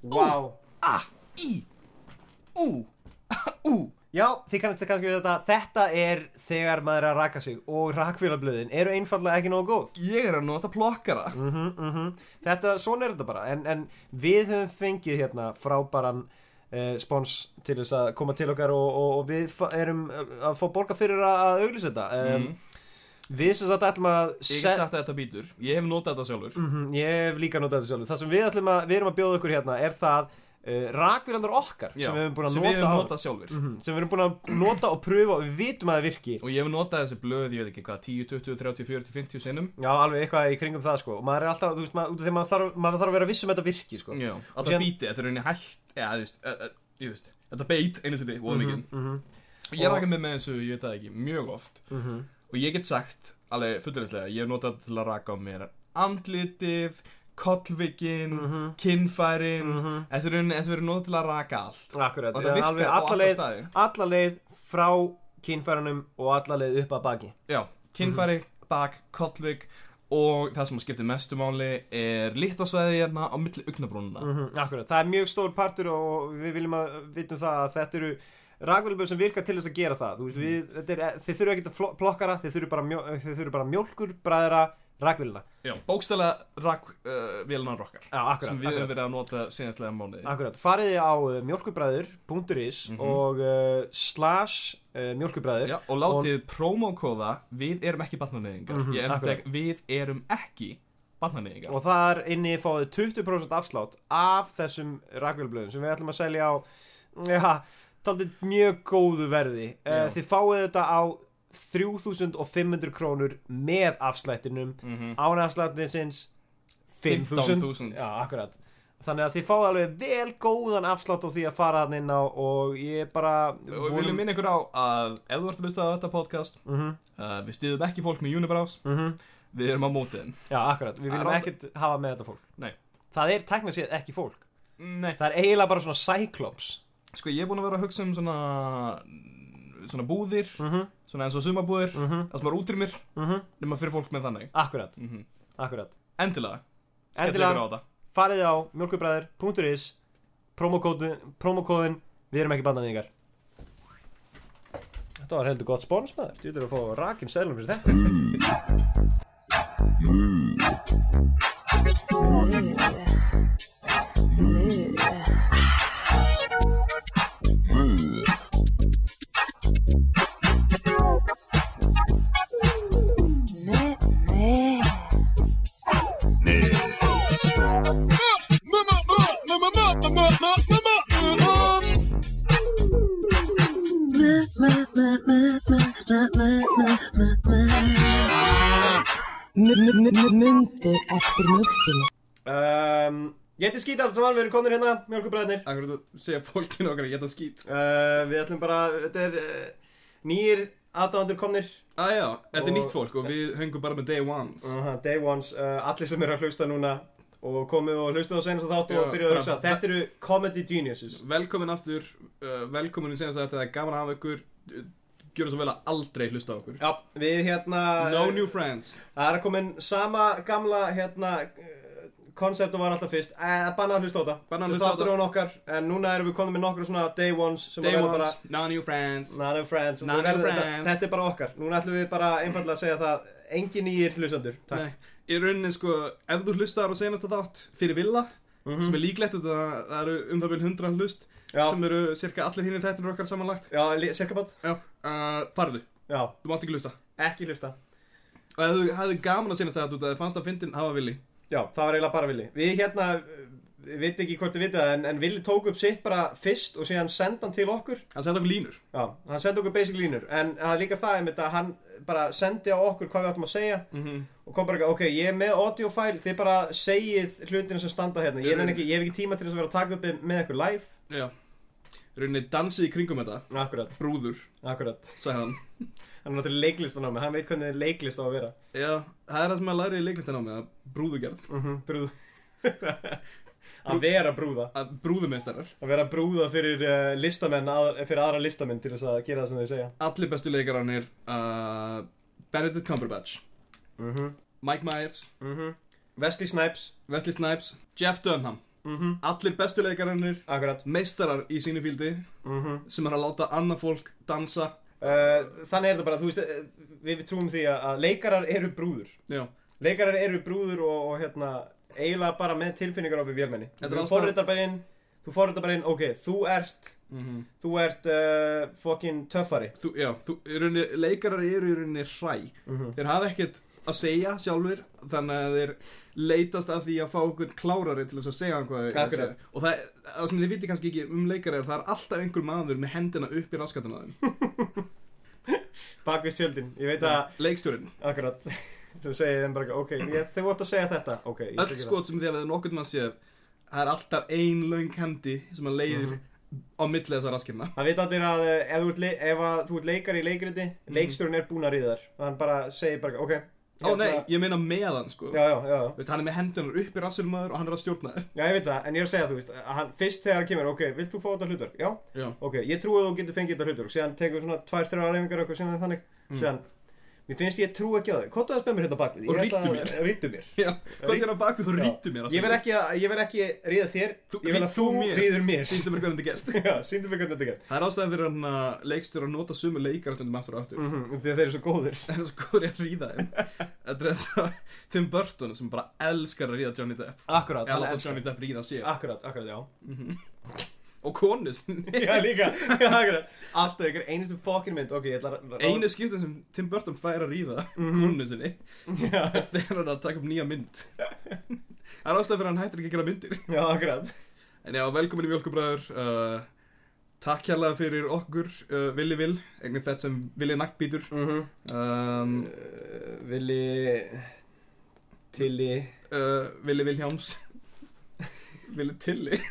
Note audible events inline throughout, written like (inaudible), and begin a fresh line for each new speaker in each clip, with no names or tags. Vá
A, I, U, (laughs) U
Já, þið kannast kannski við þetta Þetta er þegar maður er að raka sig og rakfélablöðin eru einfallega ekki nógu góð
Ég er að nota plokkara
mhm, mhm. Þetta, svona er þetta bara en, en við höfum fengið hérna frábæran uh, spons til þess að koma til okkar og, og, og við fa- erum eh, að fá borga fyrir að, að auglýsa þetta um,
Mm.
Við sem sagt ætlum að
Ég
se-
get sagt að þetta býtur Ég hef notað þetta sjálfur
Mhm, Ég hef líka notað þetta sjálfur Það sem við, ætlum að, við erum að bjóða ykkur hérna er það uh, rakfélablöður okkar
Já,
sem við höfum búin að
sem
nota,
ég hef
áður.
notað sjálfur
Mhm, sem við erum búin að nota og pröfa og við vitum að það virki
Og ég hef notað þessi blöð, ég veit ekki hvað, 10, 20, 30, 40, 50 sinnum
Já, alveg eitthvað í kringum það sko og maður er alltaf, þú veist, maður, út af því að maður þarf, maður þarf að vera viss um að þetta virki sko
Já,
Og
þetta
síðan-
bíti, þetta er rauninni hægt Já, þú veist, ö- ö- ég veist Þetta beit einu sinni, voða mikið
Mhm,
Ég
Og-
raka mig með þessu, ég veit það ekki, mjög oft
mhm.
Og ég get sagt, alveg fullurinslega, ég hef notað þetta til að raka á mér andlitið, kollvikin,
Mhm.
kinnfærin
Mhm.
Þetta er rauninni, þetta verður notað til að raka allt
Akkurat,
Og þetta
já,
virkar á alla
alla leið,
staði
alla leið frá kynfærunum og alla leið upp að baki
Já,
Mhm.
kinnfæri, bak, kollvik Og það sem skiptir mestu máli er litasvæði hérna á milli augnabrúnuna
Mm. Mhm, Akkurat, það er mjög stór partur og við viljum að vitum það að þetta eru rakvélböð sem virka til þess að gera það Þú veist, við,
Mhm.
þetta er, eh, þið þurfum ekki að flo- plokkara, þið þurfum bara, mjó, þið þurfum bara mjólkur bræðra rakvélina
Já, bókstæla rak uh, vélunar okkar
Já, akkurat,
sem við
akkurat.
höfum verið að nota síðanstlega mánuði
Eh, Akkurat, fariði á uh, mjölkubræður.is
Mhm.
og uh, slash uh, mjölkubræður
Já, og látið og... promokóða við erum ekki barnaneðingar
Mhm,
ég endur
akkurat.
ekki, við erum ekki barnaneðingar
og þar inni fáið 20% afslátt af þessum rakvélblöðum sem við ætlum að selja á ja, taldið mjög góðu verði
Já.
uh, þið fáið þetta á 3500 krónur með afslættinum
mm -hmm.
án afslættinsins 5000 Já, akkurat Þannig að þið fáið alveg vel góðan afslátt á því að fara hann inn á og ég bara
og við viljum minna ykkur á að ef þú ert að luta á þetta podcast
mm
uh, við stiðum ekki fólk með Unibrows
mhm.
við erum á mótið þeim.
Já, akkurat, við viljum
Það er
ekkert hafa með þetta fólk
Nei.
Það er tekna sér ekki fólk
nei,
Það er eiginlega bara svona cyclops
sko ég er búin að vera að hugsa um svona svona búðir,
Mhm,
svona eins og sumabúðir
mhm,
það sem er útrýmir
mhm
nema fyrir fólk með þannig
Akkurat,
mm
akkurat
endilega, skellið
Endilega.
ykkur á þetta
Farið á mjölkubræður.is Promokóðin, promokóðin Við erum ekki bandan ykkar Þetta var heldur gott spons maður Þú ert að fá rakim seglum fyrir þetta
Mundu eftir mjölkinu
um, Ég heiti Skít allt saman, við erum konur hérna Mjölkubræðnir
Akkur þú segja fólkinu okkar að geta skýt
uh, Við ætlum bara, þetta er uh, Nýjir aðdáðandur komnir
Aðjá, Ah, þetta er
Og- Mm.
nýtt fólk og við höngum bara með day ones
Aha, Day Ones, uh, allir sem eru að hlusta núna og komið og hlustuð á senast þátt og
Já,
byrjuð að
bara-
hugsa þetta eru comedy geniuses
Velkomin aftur, uh, velkomin í senast að þetta er gaman að hafa ykkur Uh, Gjörðu svo vel að aldrei hlusta á okkur
Já, við hérna
No new friends
það er komin sama gamla hérna eh, koncept og var alltaf fyrst Eh, að banna að hlusta á þetta
Banna að hlusta á
þetta
þetta.
er hún okkar en núna erum við komin með nokkru svona Day Ones sem
Day
verða
ones,
bara
no new friends
None of friends og
None
við verðum-
of
þetta,
friends.
þetta er bara okkar núna ætlum við bara einfallega að segja það engin nýjir hlustandur takk
Nei, í rauninni sko, ef þú hlustar á senast að þátt fyrir villa
Mhm.
Sem er líklegt út að það eru um það vel 100 hlust
Já.
Sem eru cirka allir hinn í þættinur okkar samanlagt
Já, sirkabátt
Já, uh, farðu,
Já,
þú mátt ekki hlusta
ekki hlusta
Og ef þú hefðu gaman að senast að þetta út að þið fannst að fyndin hafa villi
Já, það var eiginlega bara Vili Við hérna, við veit ekki hvort þið vitið það en, en Vili tók upp sitt bara fyrst og síðan sendi hann til okkur
Hann senda okkur línur
Já, hann sendi okkur basic línur En það er líka það einmitt að hann bara sendi á okkur hvað við áttum að segja
mm -hmm.
Og kom bara ekki, ok, ég er með audio file Þið bara segið hlutinu sem standa hérna Ég, nenni ekki, ég hef ekki tíma til þess að vera að taka upp með ykkur live
Já, í rauninni dansið í kringum þetta
Akkurat,
Brúður,
akkurat
sagði hann
Hann er náttúrulega leiklistan á mig, hann veit hvernig leiklist á að vera
Já, það er það sem maður læri í leiklistin á mig að brúðugerð,
mm -hmm, Brúð (laughs) Að vera brúða
að brúðumeistarar
Að vera brúða fyrir uh, listamenn, að, fyrir aðra listamenn til þess að gera það sem þau segja
Allir bestu leikararnir uh, Benedict Cumberbatch
Mhm
Mike Myers,
Mm Wesley Snipes
Wesley Snipes Jeff Dunham
mhm,
allir bestu leikarinnir
akkurat
meistarar í sínu fíldi
mhm
sem er að láta annað fólk dansa
Uh, þannig er þetta bara, þú veist, uh, við, við trúum því að, að leikarar eru brúður
Já,
Leikarar eru brúður og, og hérna, eiginlega bara með tilfinningar á við vélmenni
Þetta er
Þú
ástæðan-
forritar bara inn, þú forritar bara inn, ok, þú ert,
Mhm.
þú ert uh, fucking töffari
þú, já þú, í rauninni, leikarar eru í rauninni hræ
Mhm.
Þeir hafa ekkert að segja sjálfur þannig að þeir leitast að því að fá okkur klárari til þess að segja hvað þeir eru að
Akkurat.
segja. Og það, það sem þið viti kannski ekki um leikarar er að það er alltaf einhver maður með hendina upp í raskatuna á þeim
Bak við sjöldin, ég veit að,
Leikstjórinn
akkurat, (laughs) sem segir þeim bara, ok, ég, þau vart að segja þetta, ok, ég
Öll sko, skot sem þið hafið nokkurn mann séð það er alltaf ein löng hendi sem að leiðir
Mhm.
á milli þessar raskatuna
Það veit allir að eh, ef þú ert, le- ef að, þú ert leikari í leikriti, leikstjórn er búin að ríða þar Hann bara segir bara, ok
Mhm. Ó nei,
hérna-
ég meina meðan sko
Já, já, já, já
Þú Veist, hann er með hendunar upp í rassinum maður og hann er að stjórna þér
Já, ég veit það, en ég er að segja, þú veist, að hann, fyrst þegar hann kemur, ok, vilt þú fá þetta hlutverk? Já,
Já,
ok, ég trúi að þú getur fengið þetta hlutverk, síðan tekur svona tvær, þrjá reyfingar eitthvað síðan þannig, síðan, mér finnst ég trú ekki á þig, hvað þú að spemma mér hérna bakið?
Mm. Og rýddu mér.
Rýttu mér.
(laughs) já, hvað er að baku þú
Já.
rýttu mér
Ég vil ekki, að- ég vil ekki ríða þér,
Þú-
ég vil að
rýdd
þú
þú mér.
rýður mér. (laughs)
Sýndu mér hvernig þetta gerst
Já, síndu mig hvernig þetta gerð.
Það er ástæðan fyrir hann að leikstjóra að nota sömu leikar stundum aftur og aftur
Mm Þegar þeir eru svo góðir.
Það er svo góður í að ríða þeim Þetta er þess að Tim Burton sem bara elskar að ríða Johnny Depp
Akkurat,
Eða láta Johnny Depp ríða sér
Akkurat, akkurat, já.
Og konu sinni
(laughs) Já, líka, já, akkurat. Alltaf ykkur einustu fokkin mynd, ok, ég ætla að...
Einu skiptin sem Tim Burton fær að ríða konu sinni
Mhm. (laughs) Já,
er þegar hann er að taka upp nýja
(laughs)
mynd Það er ástæðan fyrir að hann hættir ekki að gera myndir
já, akkurat.
En já, velkomin í Mjölkubræður uh, Takk hérlega fyrir okkur uh, Vili Vil, einnig þetta sem Vili Nackbítur
Mm
um,
uh, Vili Tilli
uh, Vili (laughs) Vilhjáms Vili Tilli (laughs)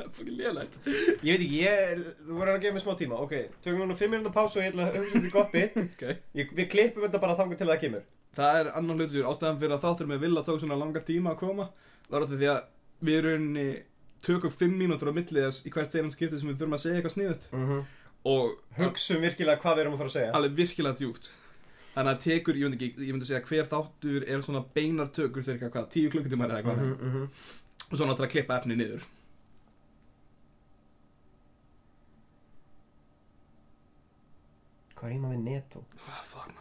Það er fokkin lélægt
Ég veit ekki, ég, þú voru að gefa mér smá tíma Ok, tökum núna 5 minútur pásu og ég ætla að hugsa um því goppi
okay.
ég, Við klippum þetta bara þangur til það kemur
Það er annan hlutur ástæðan fyrir að þáttur með Villa tók svona langar tíma að koma Það var þetta því að við rauninni tökum fimm mínútur á milli þess í hvert seinan skipti sem við þurfum að segja eitthvað sniðut og
Hugsum virkilega hvað við erum að fara að segja
Mhm. alveg virkilega djúpt þannig að tekur, ég myndi, ekki, ég myndi segja hver þáttur er svona beinar tökur sér eitthvað, tíu klukkutímar eða eitthvað og svona til að klippa efni niður
Hvað er íma við netó?
ah, fuck (laughs)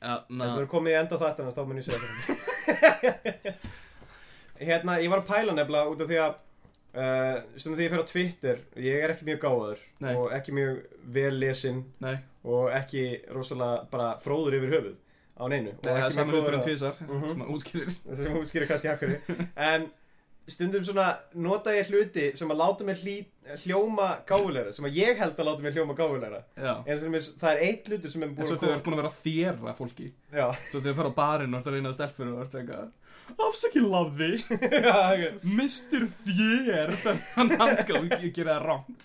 maður ja, na,
Þetta verður komið í enda þættanast, þá mun ég segja þetta (laughs) Hérna, ég var að pæla nefnilega út af því að Uh, stundum því ég fer á Twitter ég er ekki mjög gáður
Nei.
og ekki mjög vel lesinn
nei,
og ekki rosalega bara fróður yfir höfuð á neinu og
það er
ekki
saman hlutur en
tvis
tvisar
Mhm.
sem að (laughs) útskýrir
sem útskýrir kannski
(laughs)
akkari en stundum svona nota ég hluti sem að láta mig hlý, hljóma gáfulegra sem að ég held að láta mig hljóma gáfulegra
já
en sem þess, það er eitt hlutur sem er
En
búin
svo þau eru búin að vera að þéra fólki
Já, (laughs)
Svo þau fara á barinn og ertu að reyna að stelpur og ertu eitthvað Afsaki lafi,
já, ok.
mistur (laughs) þér Þannig að hann hanska og ég gera það rámt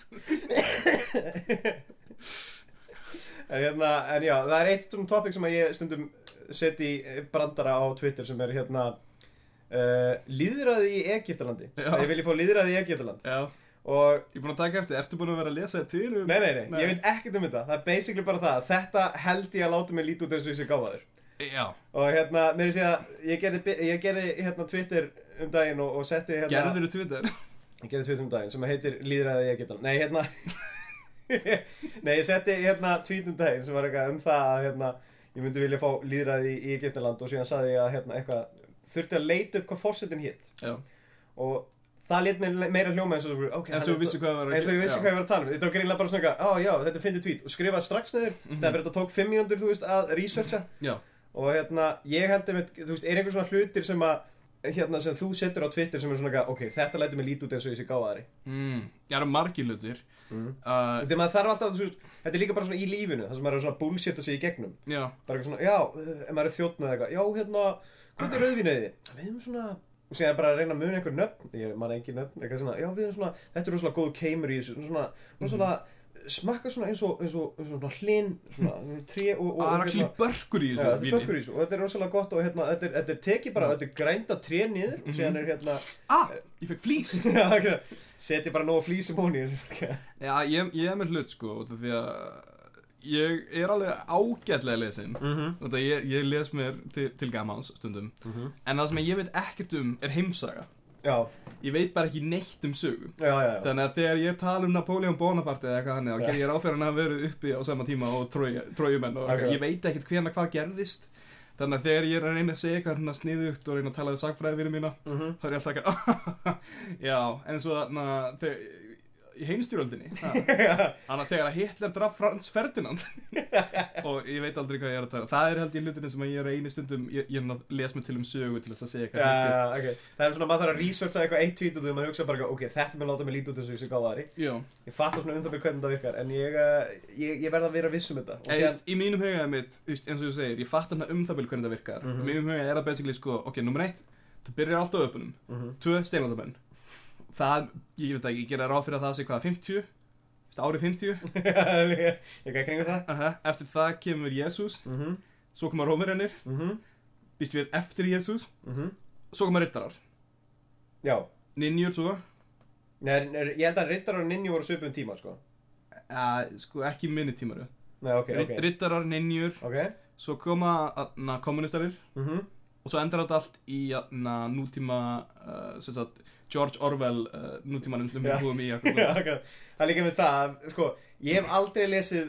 en, hérna, en já, það er eitt svona topic sem að ég stundum set í brandara á Twitter sem er hérna uh, líðræði í Egyptalandi
Já.
ég vil ég fá líðræði í Egyptaland
Já,
og
Ég er búin að taka eftir, ertu búin að vera að lesa þetta til? um-
Nei, nei, nei,
Nei.
ég veit ekkert um þetta Það er basically bara það Þetta held ég að láta mig líti út eins og ég sé gáfaður
Já.
Og hérna, mér er séð að ég gerði, ég gerði hérna Twitter um daginn og, og setti hérna
Gerður þú
(laughs)
Twitter?
Ég gerði Twitter um daginn sem heitir Líðræði ég geta Nei, hérna (laughs) Nei, ég setti hérna tweet um daginn sem var eitthvað um það að hérna Ég myndi vilja fá líðræði í Egyptaland og síðan saði ég að hérna eitthvað Þurfti að leita upp hvað fórsetin hitt
Já.
Og það létt mér meira hljóma eins og þú okay,
En
hann
svo
er-
vissi hvað það var
eins og ég vissi
Já.
hvað ég var að tala um þetta var greinlega bara svona eitthvað, á já, þetta er fyndið tweet og skrifaði strax neður, mm -hmm. þetta tók 5 mínútur þú veist, að researcha
Já.
og hérna, ég held einmitt, þú veist, er einhver svona hlutir sem að hérna, sem þú setur á Twitter sem er svona eitthvað, ok, þetta lætur mig líti út eins og ég sé gáðari
Mm. Já, það eru margir hlutir.
Mhm.
Uh,
þegar maður þarf alltaf, þú veist, þetta er líka bara svona í lífinu þar sem maður er svona að bullshitta sig í gegnum
já.
bara eitthvað svona, já, uh, ef maður er þjóttnað eitthvað já, hérna, hvernig er rauðvinniði? við erum svona, og síðan er bara að reyna að muna einhver nöfn ég man engin nöfn, eitthvað svona, já, við erum svona þetta er rosalega góð keimur í þessu svona, svona, svona smakka svona eins og, eins og, eins og svona hlinn, (laughs) svona tré og, og,
Ah, Það
og
er ekki börkur í
Já,
þessu,
þetta er bökkur í þessu og þetta er rosalega gott og hérna, þetta er, þetta er tekið bara, þetta er grænda tré niður og síðan er hérna, (laughs)
Ah, ég fekk flýs.
já, hérna, setja bara nóg flýsum hún í þessu.
já, ég, ég er með hlut, sko, út af því að ég er alveg ágætlega lesin
Mhm.
Þetta ég, ég les mér til, til gamans stundum
Mhm.
En það sem ég veit ekkert um er heimsaga
Já,
Ég veit bara ekki neitt um sögu
já, já, já.
Þannig að þegar ég tala um Napoleon Bonaparte eða eitthvað hann Þá ger ég ráfæran að vera uppi á sama tíma og Troy- trójumenn og
Ok.
okay. ég veit ekkert hvena hvað gerðist Þannig að þegar ég er að reyna að segja eitthvað hérna sniðugt og reyna að tala við sagfræðinu mína
Mhm.
þá er ég alltaf ekki (laughs) Já, en svo þarna þegar, í
(laughs)
heimstyrjöldinni ha, þannig að þegar að Hitler draf Frans Ferdinand og ég veit aldrei hvað ég er að tala það er held ég hlutinni sem að ég er einu stundum ég, ég er að les mig til um sögu til þess að segja
Já, já,
hvað
já, ok. Það er svona maður þarf að researcha eitthvað eitt tweet og þú maður hugsa bara eitthvað, ok, þetta mun láta mig líta út eins og ég sé gáðari
Já,
Ég fatta svona um það með hvernig það virkar en ég, uh, ég, ég verð að vera viss um þetta og
en,
síðan,
síðan... í mínum huga er mitt, þú veist, eins og þú segir, ég fatt hérna um það vel hvernig það virkar
Mhm.
í mínum huga er það basically sko, ok, nummer eitt þú byrjar alltaf á öpunum,
mm -hmm.
tvö steinaldamenn það, ég veit ekki, ég gera ráð fyrir að það sé hvað, 50, Þú veist, árið 50
(laughs) eitthvað í kringum það
Aha, eftir það kemur Jésús,
mm -hmm.
svo koma Rómverjanir,
Mm -hmm.
býst við eftir Jésús,
Mm -hmm.
svo koma Rittarar,
Já,
Ninjur svo,
Nei, nei, ég held að Riddar og Ninju voru svipum tíma sko
uh, sko ekki minni tímaru,
Nei, ok,
okay,
ok
Rittarar, Ninjur,
Ok,
svo koma na, kommunistarir
mm
og svo endar þetta allt í na, nútíma, uh, sem sagt, George Orwell uh, nútímanum sem
Já.
við búum í (laughs) akkur.
Já, ok. Það er líka með það, að, sko, ég hef aldrei lesið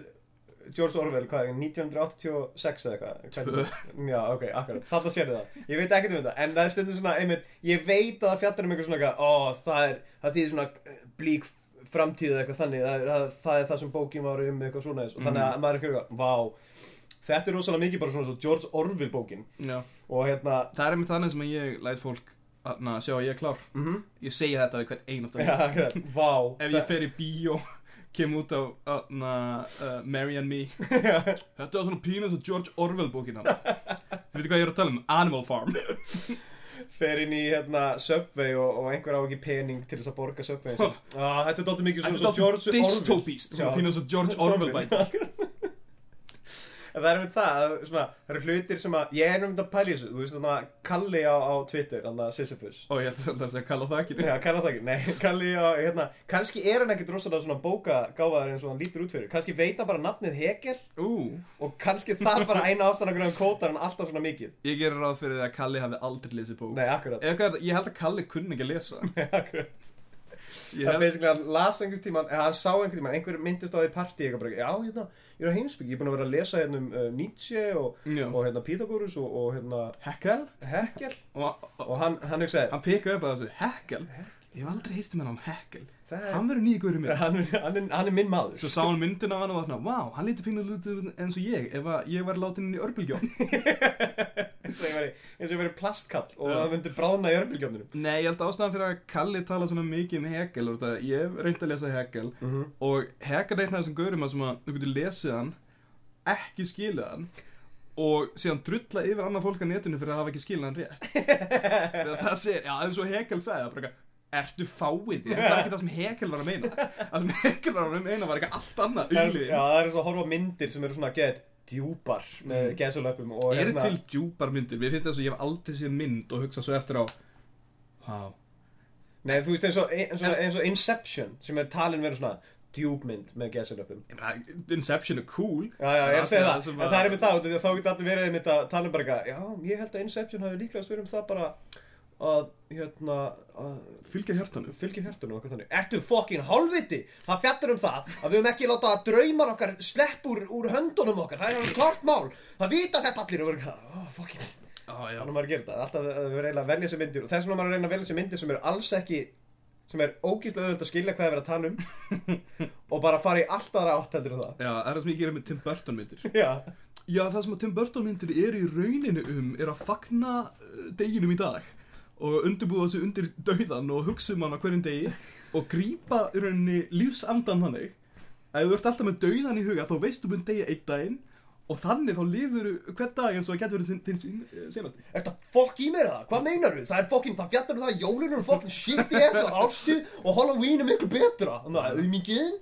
George Orwell, hvað er, 1986 eða eitthvað?
Tvö.
Hvernig- Já, ok, akkurat, þetta sér það. Ég veit ekkert um þetta, en það er stundum svona, einmitt, ég veit að það fjallar um eitthvað svona, eitthvað, ó, það er, það þýðir svona eh, blík framtíð eða eitthvað þannig, það, er- það, það er það sem bókin var um eitthvað svona þess, og þannig
Mhm.
að maður er ekki eitthvað, vá, þetta er rosalega mikið bara svona svo George Orwell bókin,
Já.
og hérna, (laughs)
Það er einmitt þannig sem að ég læt fólk na, sjá að ég er klár.
mhm, mm
Ég segi þetta við hvern (laughs) einasta
já, akkurat, vá.
Ef ég fer í bíó (laughs) kem út á na, uh, Mary and
(laughs)
Me Þetta var svona pínus og George Orwell bókin hann Þið veitir hvað ég er að tala um? Animal Farm
fer inn í hérna Subway og, og einhver á ekki pening til þess að borga Subway huh. ah, Þetta er dálítið mikið svona
Þetta
svona
var
George Orwell
dystopist Svona pínus og George Orwell bæk
En Það er með það, að svona, það eru hlutir sem að ég er um þetta að pæla í þessu, þú veist þannig að Kalli á, á Twitter, þannig að Sisyphus
Og ég ætla að segja að kalla það ekki
Já, Kalli á það ekki, nei, (laughs) Kalli á, hérna, kannski er hann ekkit rosalega svona bókagáfaðar eins og hann lítur út fyrir, kannski veit hann bara nafnið Hegel
Ú,
og kannski það er bara eina ástæðan okkur hann kótar hann alltaf svona mikið
ég gerir ráð fyrir að Kalli hafi aldrei lesið bók
Nei, akkurat, (laughs)
Ef hvað, ég held að Kalli kunni ekki að lesa
akkurat
Ég
Það er
held,
basically hann las einhvers tíman, eða hann sá einhvers tíman, einhver myndist á því partí eitthvað bara, já, hérna, ég er á heimsbyggi, ég er búin að vera að lesa hérna um uh, Nietzsche og,
já
og hérna Pythagoras og, og hérna
Hekkel
Hekkel
Og og-
og hann, hann hugsaði,
hann pikkaði upp að þessu Hekkel Ég hef aldrei heyrt um hann Hekkel
það er,
Hann verður nýja guður mér
(laughs) hann, er- hann, er, hann er minn maður.
Svo sá hann myndina af hann og var svona, vá, hann lítur pínu lútið eins og ég, ef að ég var látin inn í örbylgjón.
(laughs) eins og ég veri, eins og ég veri plastkall og
Já.
það myndi bráðna í örmilgjöfnunum.
(laughs) Nei, ég held að ástæðan fyrir að Kalli tala svona mikið um Hegel, og þetta, ég hef reynd að lesa Hegel,
Mm -hmm.
og Hegel reiknaði þessum gaurum að sem að þú getur lesið hann, ekki skilið hann, og síðan drulla yfir annað fólk á netinu fyrir að hafa ekki skilið hann (laughs) rétt. Þegar það segir, já, eins og Hegel sagði það, bara eitthvað, ertu fáið því, en það er ekki það sem Hegel var að meina. Það sem Hegel var að meina var eitthvað allt annað,
Það er,
auglýðin.
já, það er svo að horfa á myndir sem eru svona gett djúpar með
Mm.
gesulöpum og hérna-
Eru til djúpar myndir? Mér finnst þess að ég hef aldrei séð mynd og hugsa svo eftir á Vá
Nei, þú veist eins og, eins og, eins og Inception sem er talin verið svona djúpmynd með gesulöpum.
Ég meina, Inception er cool
Já, já, ég er að segja það,
sem
en það er með það, út af því að þá getur allir verið einmitt að tala um bara eitthvað, já, ég held að Inception hafi líklegast verið um það bara að, hérna, að
Fylgja hjartanu
fylgja hjartunum og eitthvað þannig. Ertu fokkin hálfviti? Það fjallar um það að við höfum ekki láta að draumar okkar slepp úr, úr höndunum okkar, það er alveg klart mál, það vita þetta allir og verður eitthvað, ó, fokkin,
Já, já
þannig að maður gerir þetta, alltaf að við reyna að velja sér myndir og þess vegna á maður að reyna að velja sér myndir sem er alls ekki sem er ógíslega auðvitað að skilja hvað er verið að tala um og bara fara í allt aðra átt heldur en það (laughs)
Já, það er það sem ég gerir með Tim Burton myndir
Já,
Já, það sem að Tim Burton myndir eru í rauninu um er að fagna uh, deginum í dag og undirbúa sig undir dauðan og hugsa um hann á hverjum degi og grípa í rauninni lífsandan þannig að ef þú ert alltaf með dauðan í huga þá veistu um degi einn daginn og þannig þá lifur hver dag eins og það getur verið sin- þinn sin- eh, (laughs) senasti
Er þetta fokk í mér það? Hvað meinar þú? Það er fokkin, það fjallar um það að jólun eru fokkin shit í þess að árstíð og Halloween er miklu betra. Þannig að auðmikið.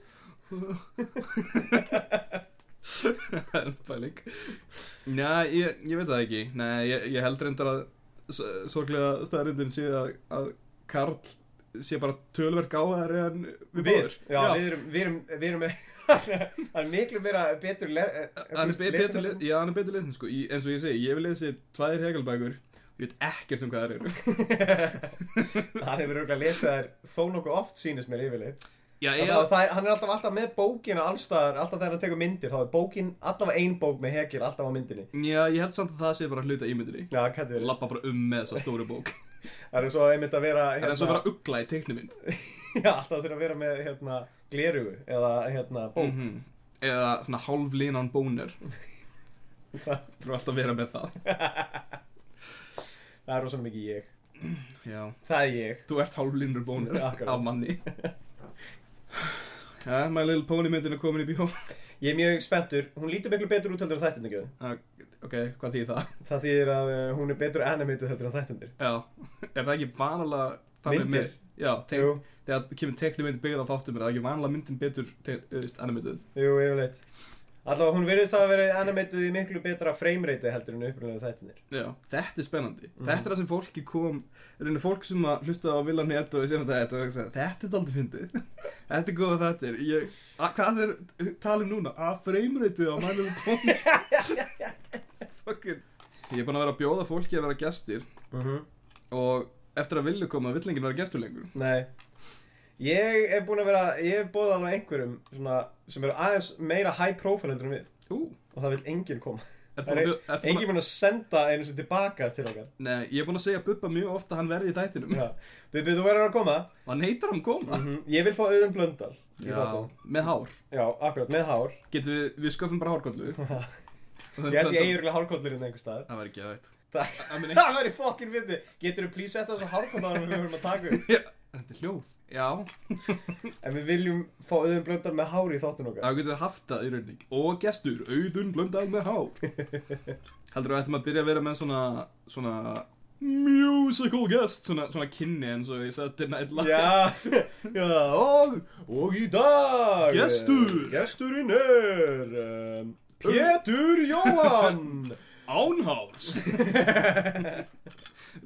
Það er pæling Já, ég, ég veit það ekki Nei, ég, ég held reyndar að s- sorglega staðarindin sé að, að Karl sé bara tölverk gáðar en við báður
já, við erum, við erum, við erum, (laughs) það er miklu meira betur le eh,
hann er be- betur le- já, hann er betur lesin sko. í, eins og ég segi, ég hef lesið tvær hegelbækur ég veit ekkert um hvað
(laughs)
það eru
hann hefur auðvitað lesað þær þó nokkuð oft sýnist mér yfirleitt
já,
Það- það, það er, hann er alltaf, alltaf með bókina allstaðar, alltaf þegar hann tekur myndir þá er bókin, alltaf ein bók með hekil alltaf á myndinni
já, ég held samt að það sé bara hluta ímyndinni
já, kanntu verið
lappa bara um með þessa
(laughs)
stóru bók
það er svo einmitt að vera hérna-
það er eins og vera ugla í teiknumynd
(laughs) já, alltaf þurfa að vera með hérna, glerugu eða hérna, bók
-hmm. eða svona hálflinan
(laughs)
bónur þú alltaf að vera með það
það er rosalega mikið ég
já,
það er ég
þú ert hálflinur bónur
Akkurat.
af manni
(laughs)
já, My Little Pony myndin er komin í bíó
ég er mjög spenntur, hún lítur miklu betur út heldur en þættindir ekki?
Ah, ok, hvað þýðir það?
það þýðir að uh, hún er betur animated heldur en þættindir
já, er það ekki vanalega þannig
Myndir?
með- já, tek,
jú,
þegar kemur teiknumynd byggð á þáttum er það ekki vanalega myndin betur te- eh, þú veist, animated
jú, yfirleitt allavega hún verður það að vera animated í miklu betra framerate heldur en upprunlega þættindir
Já, þetta er spennandi.
Mhm.
Þetta er það sem fólki kom, reynir fólk sem að hlusta á Villan Net og sem þetta og hugsa, þetta er daldið fyndið. (laughs) þetta er góða þetta er. Ég, að, hvað er eh, talið núna? Að freimreitið á mælum tóni.
(laughs)
Fucking. Ég er búin að vera að bjóða fólki að vera gestir Mhm. og eftir að vilja koma vill enginn vera gestur lengur.
nei ég er búin að vera, ég hef bóðið alveg einhverjum svona, sem eru aðeins meira high profile heldur en við
Ú,
og það vil enginn koma
ertu búin að bjóða, ertu
enginn
búin að,
mun að senda einu sem tilbaka til
(laughs)
okkar
nei, ég er búin að segja Bubba mjög ofta að hann verði í þættinum.
Já. Bibi, þú verður að koma
Og hann heitar hann koma.
Ég vil fá auðum blöndal í þáttinn.
með hár.
Já, akkurat, með hár
Getum við, við sköfum bara
(laughs)
hárkollu.
Ég held ég eigurlega hárkollurinn einhver staðar
Það var ekki aðeitt.
Það-
I (laughs) mean,
(laughs) Það væri fokkin fyndi Getur þú plís sett á þessu hárkollar við höfum að taka upp
Þetta er hljóð. Já.
En við viljum fá auðum blöndal með hár í þáttun okkar
Það getur við haft það í rauninni. Og gestur, auðun blöndal með
(laughs)
hár. Heldur við ættum að byrja að vera með svona, svona musical guest, svona, svona kynni eins og ég sagði Night Live.
(laughs) Já, já og, og í dag
Gestur.
eh, Gesturinn er um, Pétur Jóhann
Ánháls.
(laughs)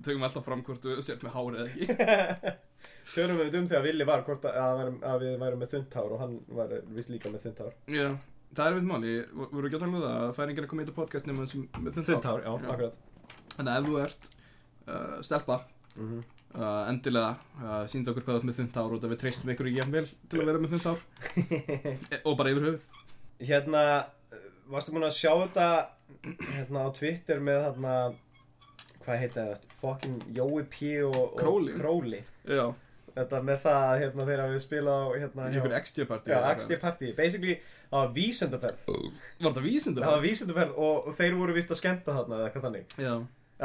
Tökum alltaf fram hvort þú sért með hár eða ekki.
Tölum við um þegar Vili var hvort að, að, værum- að við værum með þunnt hár og hann var vist líka með þunnt hár
Já. Það er við máli, voru ekki að tala um það að færingar að koma í þetta podcast nema sem með þunnt hár.
já, akkurat
Þannig að ef þú ert uh, stelpa,
Mhm.
uh, endilega uh, sínda okkur hvað þú ert með þunnt hár og það við treystum ykkur í jafnvel til að vera með þunnt hár E-
(laughs)
og bara yfir höfuð.
Hérna, eh, varstu búin að sjá þetta (clears throat) hérna á Twitter með hérna, hvað heita það, fucking Jói P og, og
Crowley. Já,
Þetta með það að hérna þeirra við spila á hérna,
í ykkur XT-partí.
já, XD Party, basically það var vísendaferð,
Var það vísindar?
það var vísendaferð og, og þeir voru víst að skemmta þarna eða hvað þannig.
Já,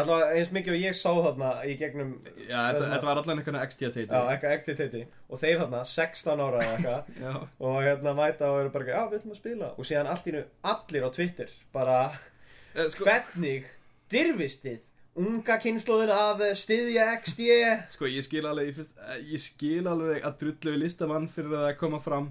Alltaf eins mikið og ég sá þarna í gegnum,
já þetta- þetta var allan eitthvað XT-teiti.
já, eitthvað XD Titi og þeir þarna 16 ára eða eitthvað
(laughs) Já,
og hérna mæta og eru bara ekki, já, við ætlum að spila og síðan allt í nú allir á Twitter bara,
Eh, sko,
hvernig dirfist þið unga kynnslóðin að styðja XD
sko ég skil alveg, ég, fyrst, eh, ég skil alveg að drullu við listamann fyrir að það koma fram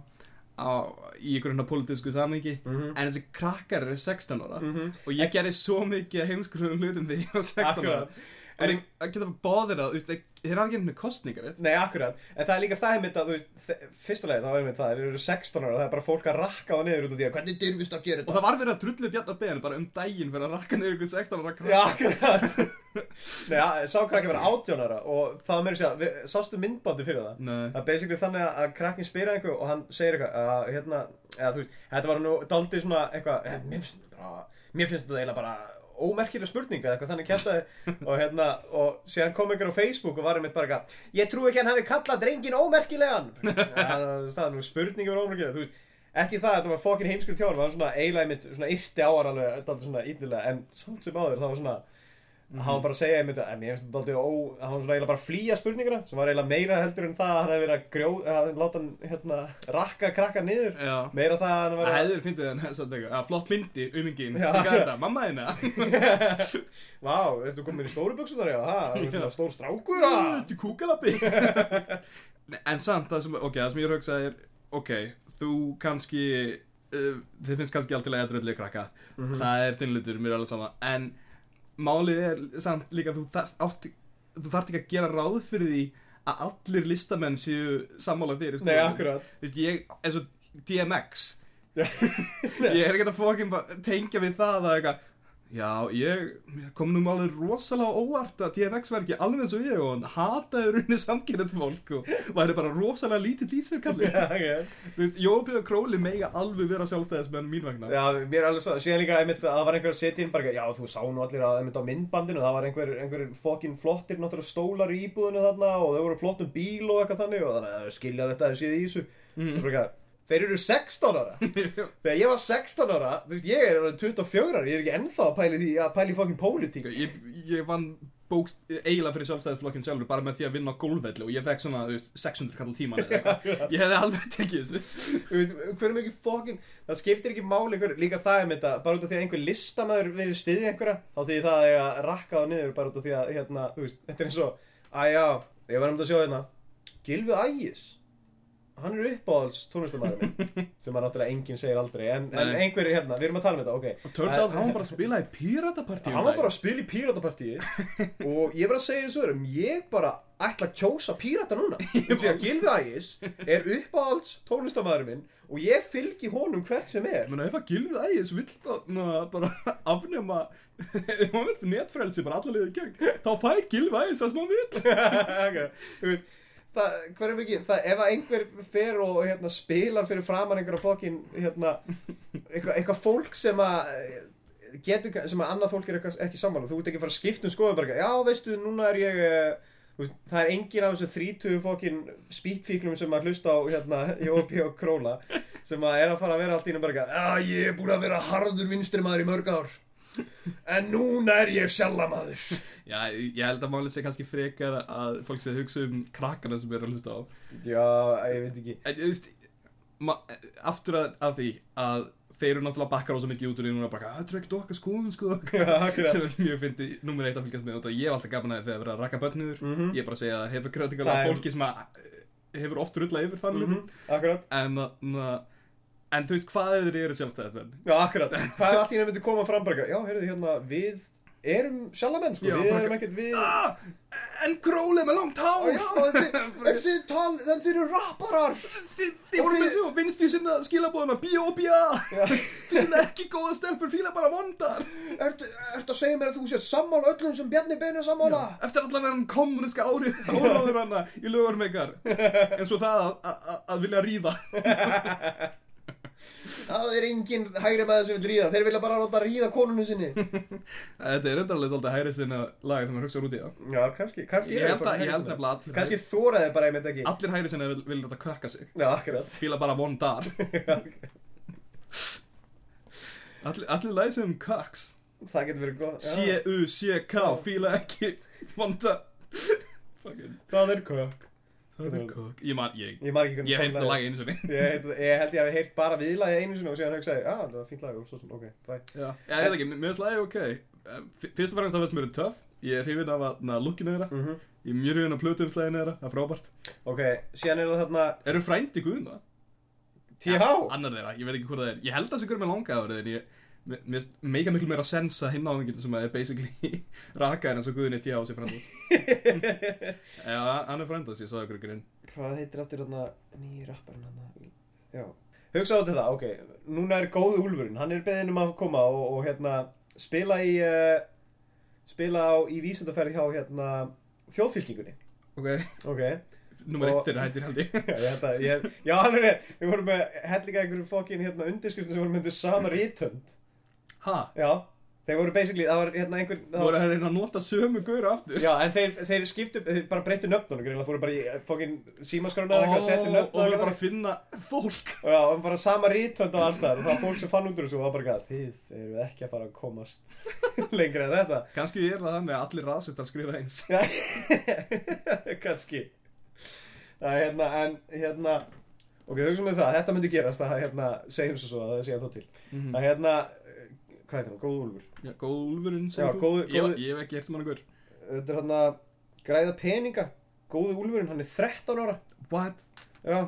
á, í ykkur hérna pólitísku samhengi.
Mhm.
En þessi krakkar eru 16 ára
Mhm.
og ég gerði svo mikið af heimskurðum hlutum þegar ég var 16 ára.
Akkurat.
En ég- það geta bara báðir að, þú veist, þeir- þeir hafa ekki einhvern kostningar, veit?
Nei, akkurat, en það er líka það einmitt að, þú veist, þe- fyrsta leið, þá er einmitt það, þeir eru 16 ára og það er bara fólk að rakka á niður út af því að hvernig dirfist að gera
Og
þetta?
það var verið að drullu Bjarnar Beðan bara um daginn fyrir að rakka niður einhvern 16 ára krakka.
Já, akkurat. (laughs) Nei, að- sá krakki var 18 ára og það var meira að segja, við, sástu myndbandi fyrir það?
Nei.
Það er basically þannig að- að krakkin spyrir einhver og hann segir eitthvað að hérna, eða þú veist, þetta var nú daldið svona eitthvað, eh, mér finnst þetta bara, mér finnst þetta eiginlega bara ómerkileg spurning eða eitthvað þannig kjæstaði og hérna, og síðan kom einhver á Facebook og var einmitt bara eitthvað, ég trú ekki að hann hafi kallað drengin ómerkilegan. Þannig að það er nú spurning var ómerkileg, þú veist, ekki það að þetta var fokkin heimskur tjálf, það var svona eiginlega einmitt, svona yrti áar alveg, daldið svona íllilega, en samt sem áður, það var svona,
Mhm.
hann var bara að segja einmitt að en mér finnst þetta aldrei ó hann var svona eiginlega bara að flýja spurninguna sem var eiginlega meira heldur en það að hann hefði verið að grjó að láta hann hérna rakka krakka niður
Já.
meira það að hann var
Það
að
hefði verið fyndið en þess að þetta, að flott myndi, umingin,
Já.
hvað er þetta, mamma þeina?
vá, veistu, þú komin í stóru buksum þar já, ha,
(laughs)
hann var svona stór strákur ha.
Þetta er kúkalabbi. (laughs) Nei, en samt, það sem, ok, það sem ég er að hugsa er, ok, þú kannski, uh, þið finnst kannski alltaf að drullu krakka, það er þinnlutur, mér er alveg sama, en málið er samt líka, þú þarft, átt, þú þarft ekki að gera ráð fyrir því að allir listamenn séu sammála þér sko. í
nei,
skoðunum.
akkurat (laughs)
Þú veist, ég, eins og DMX (laughs) Ég er ekki að fókin bara tengja við það að eitthvað Já, ég mér kom nú alveg rosalega á óvart að TNX var ekki alveg eins og ég og hann hataði runni samkynnet fólk og væri bara rosalega lítill í sér kalli.
ok
Þú veist, Jópi og Króli mega alveg vera sjálfstæðismenn mín vegna.
Já, mér er alveg svo, síðan líka einmitt að það var einhver að setja inn bara, eitthvað, já, þú sá nú allir að einmitt á myndbandinu, það var einhver, einhver fokkin flottir náttúrulega stólar í íbúðinu þarna og þau voru flottum bíl og eitthvað þannig og þannig að þau skilja þetta að þau séð í þessu. Mm. Bara, þeir eru 16 ára.
(laughs)
Þegar ég var 16 ára, þú veist, ég er alveg 24 ára, ég er ekki ennþá að pæli því að pæli fokkin pólitík.
Ég, ég vann bókst eiginlega fyrir sjálfstæðisflokkinn sjálfur bara með því að vinna á gólfvelli og ég fekk svona, þú veist, 600 kall tíman eða
(laughs)
eitthvað. Ég hefði alveg tekið þessu.
Þú veit, hver er mikið fokkin, það skiptir ekki máli hver, líka það er þetta, bara út af því að einhver listamæður verið stiðið einhverja, þá því það er að rakka á niður bara út af því að, hérna, þú veist, þetta er eins og, að já, ég var um að sjá hérna, Gylfi Ægis, hann er uppáhalds tónlistamæður
(laughs)
minn, sem að náttúrulega enginn segir aldrei, en, en
Nei.
einhver er hérna, við erum að tala um þetta, ok.
Og turns out hann var bara að spila í píratapartíum.
Hann var bara að spila í píratapartíi og ég var að segja þessu öðrum, ég bara ætla að kjósa pírata núna því að Gylfi Ægis er uppáhalds tónlistamæður minn og ég fylgi honum hvert sem er
Menna, ef að Gylfið Ægis vill þá na, bara (laughs) afnema ef hann vill netfrelsi bara alla liðið gegn þá fær Gylfið Ægis það sem hann vill
okay. Þú veist, það, hver er mikið, það, ef að einhver fer og hérna, spilar fyrir framann einhverja fokkin hérna, eitthvað eitthva fólk sem að eh, getur, sem að annað fólk er eitthvað ekki sammála þú ert ekki að fara að skipta um skoðum bara, já veistu, núna er ég eh, þú veist, það er engin af þessu 30 fokkin spýtfíklum sem að hlusta á hérna, Jópi og Króla sem að er að fara að vera allt í einu bara eitthvað, já ég er búin að vera harður vinstri maður í mörg ár en núna er ég sjálfamaður
Já, ég held að málið sé kannski frekar að fólk sé að hugsa um krakkana sem eru að hlusta á
já, ég veit ekki
en, þú veist, ma, aftur að, að því að þeir eru náttúrulega bakkar á svo mikið út úr því núna bara, það er ekkert okkar skoðum sko
akkurat.
sem er mjög fyndið, nummer eitt að fylgjast með og það ég hef alltaf gaman að því þegar það er að rakka börniður mm
Mhm.
ég er bara að segja að hefur
Það
kritikala
er-
fólki sem að eh, hefur oft rullað yfir þannig
Mhm, Akkurat
en, na, en þú veist hvað þeir eru sjálfstæðismenn
Já, akkurat Það er allt í nefnum myndi koma fram bara eitthvað, Já, heyrðu, hérna, við erum sjálfamenn, sko
Já,
Við
bara
erum
eitthvað-
ekkert við
ah, en króli með langt hár
en þið tal, en þið eru rapparar
þið, þið voru með þú vinst í sinna skilabóðuna B.O.B.A. (laughs) fíla ekki góða stelpur, fíla bara vondar
Ertu, ertu að segja mér að þú sétt sammála öllum sem Bjarni Beinu sammála?
eftir allan enn kommuníska ári áraður hana í lögur megar eins og það að, að, að- að vilja ríða
Það er engin hægri maður sem vil ríða Þeir vilja bara ráta að ríða konunni
(laughs)
sinni
þetta er endarlega þóldið hæri sinna lag þegar maður hugsa út í það
Já, kannski, kannski
ég held að, ég held nefnilega allir
Kannski þóraði bara einmitt ekki
allir hæri sinna vil, vil þetta kökka sig
Já, akkurat (laughs)
fíla bara vondar allir, allir læg sem um köks
Það getur verið gott Já.
C-U, C-K, fíla ekki Vonda Fucking-
Það er kökk
Það er kók Ég man, ég
Ég margir hvernig
Ég heyrði
formlagið-
það lagi eins og
(laughs) Ég, heit- ég held ég hafi heyrt bara viðlagið einu sinni og síðan hugsaði, já, það var fínt lag og svo svona, ok, bye.
Já, ég veit ekki, mér finnst lagi ok Eh, fyr- Fyrst og fremst það finnst mér er töff Ég er hrifinn af að na, lookinu þeirra
Mm
Ég er mjög hrifinn af plötuðinslæginu þeirra, það er frábært
Ok, síðan er það þarna
Eru frændi guðna?
(laughs) TH.
Annar þeirra, ég veit ekki hvað það er Ég held að þessi guður með langa árið En ég, mér mér finnst meika miklu meira sens að hinn áfengildi sem að er basically (laughs) rakaðir eins og guðinni tíu á sér frændas Já, hann er frændas, ég sagði ykkur grinn
Hvað heitir aftur þarna nýji rapparinn þarna? Já. Hugsaðu til það, ok, núna er góðu úlfurinn, hann er beðinn um að koma og, og hérna spila í, uh, spila á, í vísindaferði hjá hérna þjóðfylkingunni.
Ok, (laughs)
Ok, (laughs)
nummer
Og-
eitt þeirra hættir held ég
já, ég held að, ég, já, hann er, við vorum með hellinga einhverjum fokkin hérna undirskriftum sem voru myndu sama rítönd.
Ha?
Já, þeir voru basically, það var hérna einhver, það
voru að reyna að nota sömu gaur aftur
Já, en þeir, þeir skiptu, þeir bara breyttu nöfnunum greinlega, fóru bara í fokkin símaskrona eða
Ó,
eitthvað, settu nöfnunum
og vilja bara finna fólk
Já, og bara sama rítönd á allstæðar og það var fólk sem fann út úr þessu og var bara gæð, þið eru ekki að fara að komast (laughs) lengra en þetta.
kannski er það þannig að allir rasistar skrifa eins
Já, (laughs) kannski. Það er hérna, en hérna, ok, hugsaum við það, þetta myndi gerast, það hérna, segjum svo svo að það sé að þá til.
Mhm.
Það hérna, eh, hvað heitir hann, góð úlfur,
já, góð úlfurinn
Já,
þú-
góðu-
ég,
góðu-
ég hef ekki hert um hann einhver
þetta er hérna, græða peninga, góði úlfurinn, hann er 13 ára,
what?
já.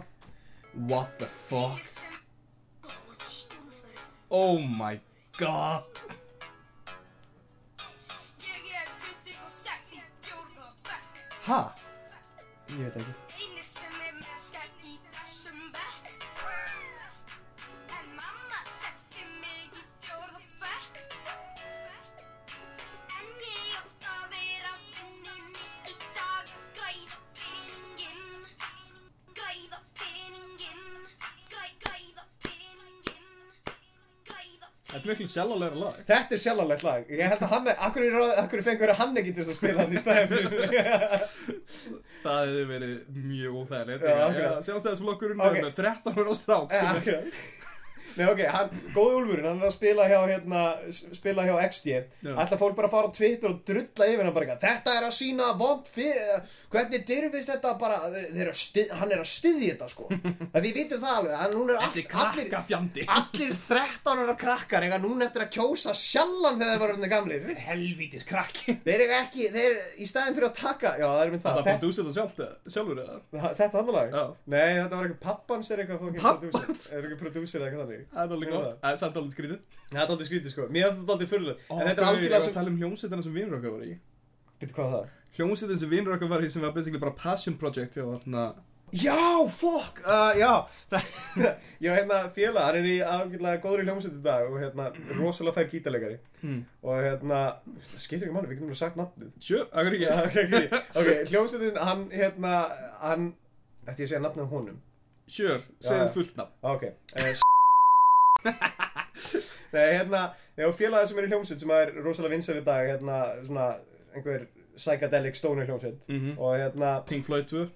what the fuck oh my god
Ég er 26 í fjórða bekk
ha?
Ég veit ekki.
Einu sem er með skætt í þessum bekk En mamma
Þetta er miklu sjálfalegra lag
Þetta er sjálfalegt lag. Ég held að hann, akkur er, akkur er fengur að hann ekki til þess að spila hann í stæðinu. (laughs)
Það hefði verið mjög óþægilegt
Já,
Já,
akkurat.
Sjálfstæðisflokkurinn
Ok.
okay. með 13 ára strák sem er
Akkurat. Nei, ok, hann, góði Úlfurinn, hann er að spila hjá, hérna, s- spila hjá XD.
Já.
Ætla fólk bara að fara á Twitter og drulla yfir hann bara eitthvað. Þetta er að sína vond fyrir, hvernig dyrfist þetta bara, þeir eru að styð, hann er að styðja þetta, (laughs) sko. En við vitum það alveg, hann hún er all,
Þessi krakka fjandi
allir 13 ára krakkar eiga núna eftir að kjósa sjallan þegar þeir voru hérna gamlir.
Helvítis krakki
Þeir eiga ekki, þeir, í staðin fyrir að taka, já, það er mynd það.
Það fann þú sér það sjálft eða- sjálfur eða?
Þa- Þetta hann lag?
Já.
Nei, þetta var eitthvað pappans er eitthvað fucking
Pabbans?
producer Er eitthvað producer eða eitthvað þannig
Það er alveg
Nei,
gott,
það.
það er samt alveg skrítið
Það er aldrei skrítið sko, mér finnst þetta aldrei fyrirlega
Ó,
En þetta er
guð, ég
algjörlega
var að
svo
tala um hljómsveitina sem vinur okkar var í
Býttu hvað var það?
Hljómsveitin sem vinur okkar var í sem var basically bara passion project hjá þarna
Já, fokk, uh, já (laughs) Það- Ég var hérna félag, hann er í algjörlega góður í hljómsveit í dag Og hérna, rosalega fær gítarleikari
Mm.
Og hérna, það skiptir ekki máli, við getum alveg sagt nafnið
Sjö, akkur ekki
Já,
(laughs)
ok, ok, ok, hljómsveitin, hann, hérna, hann Ætti ég að segja nafnið á honum
Sjör,
Já.
segðu fullt nafn
Ok uh,
(laughs)
Nei, hérna, þegar félagið sem er í hljómsveit sem er rosalega vinsæl í dag hérna, svona, einhver psychedelic stoner hljómsveit
Mhm.
og hérna,
Pink Floyd 2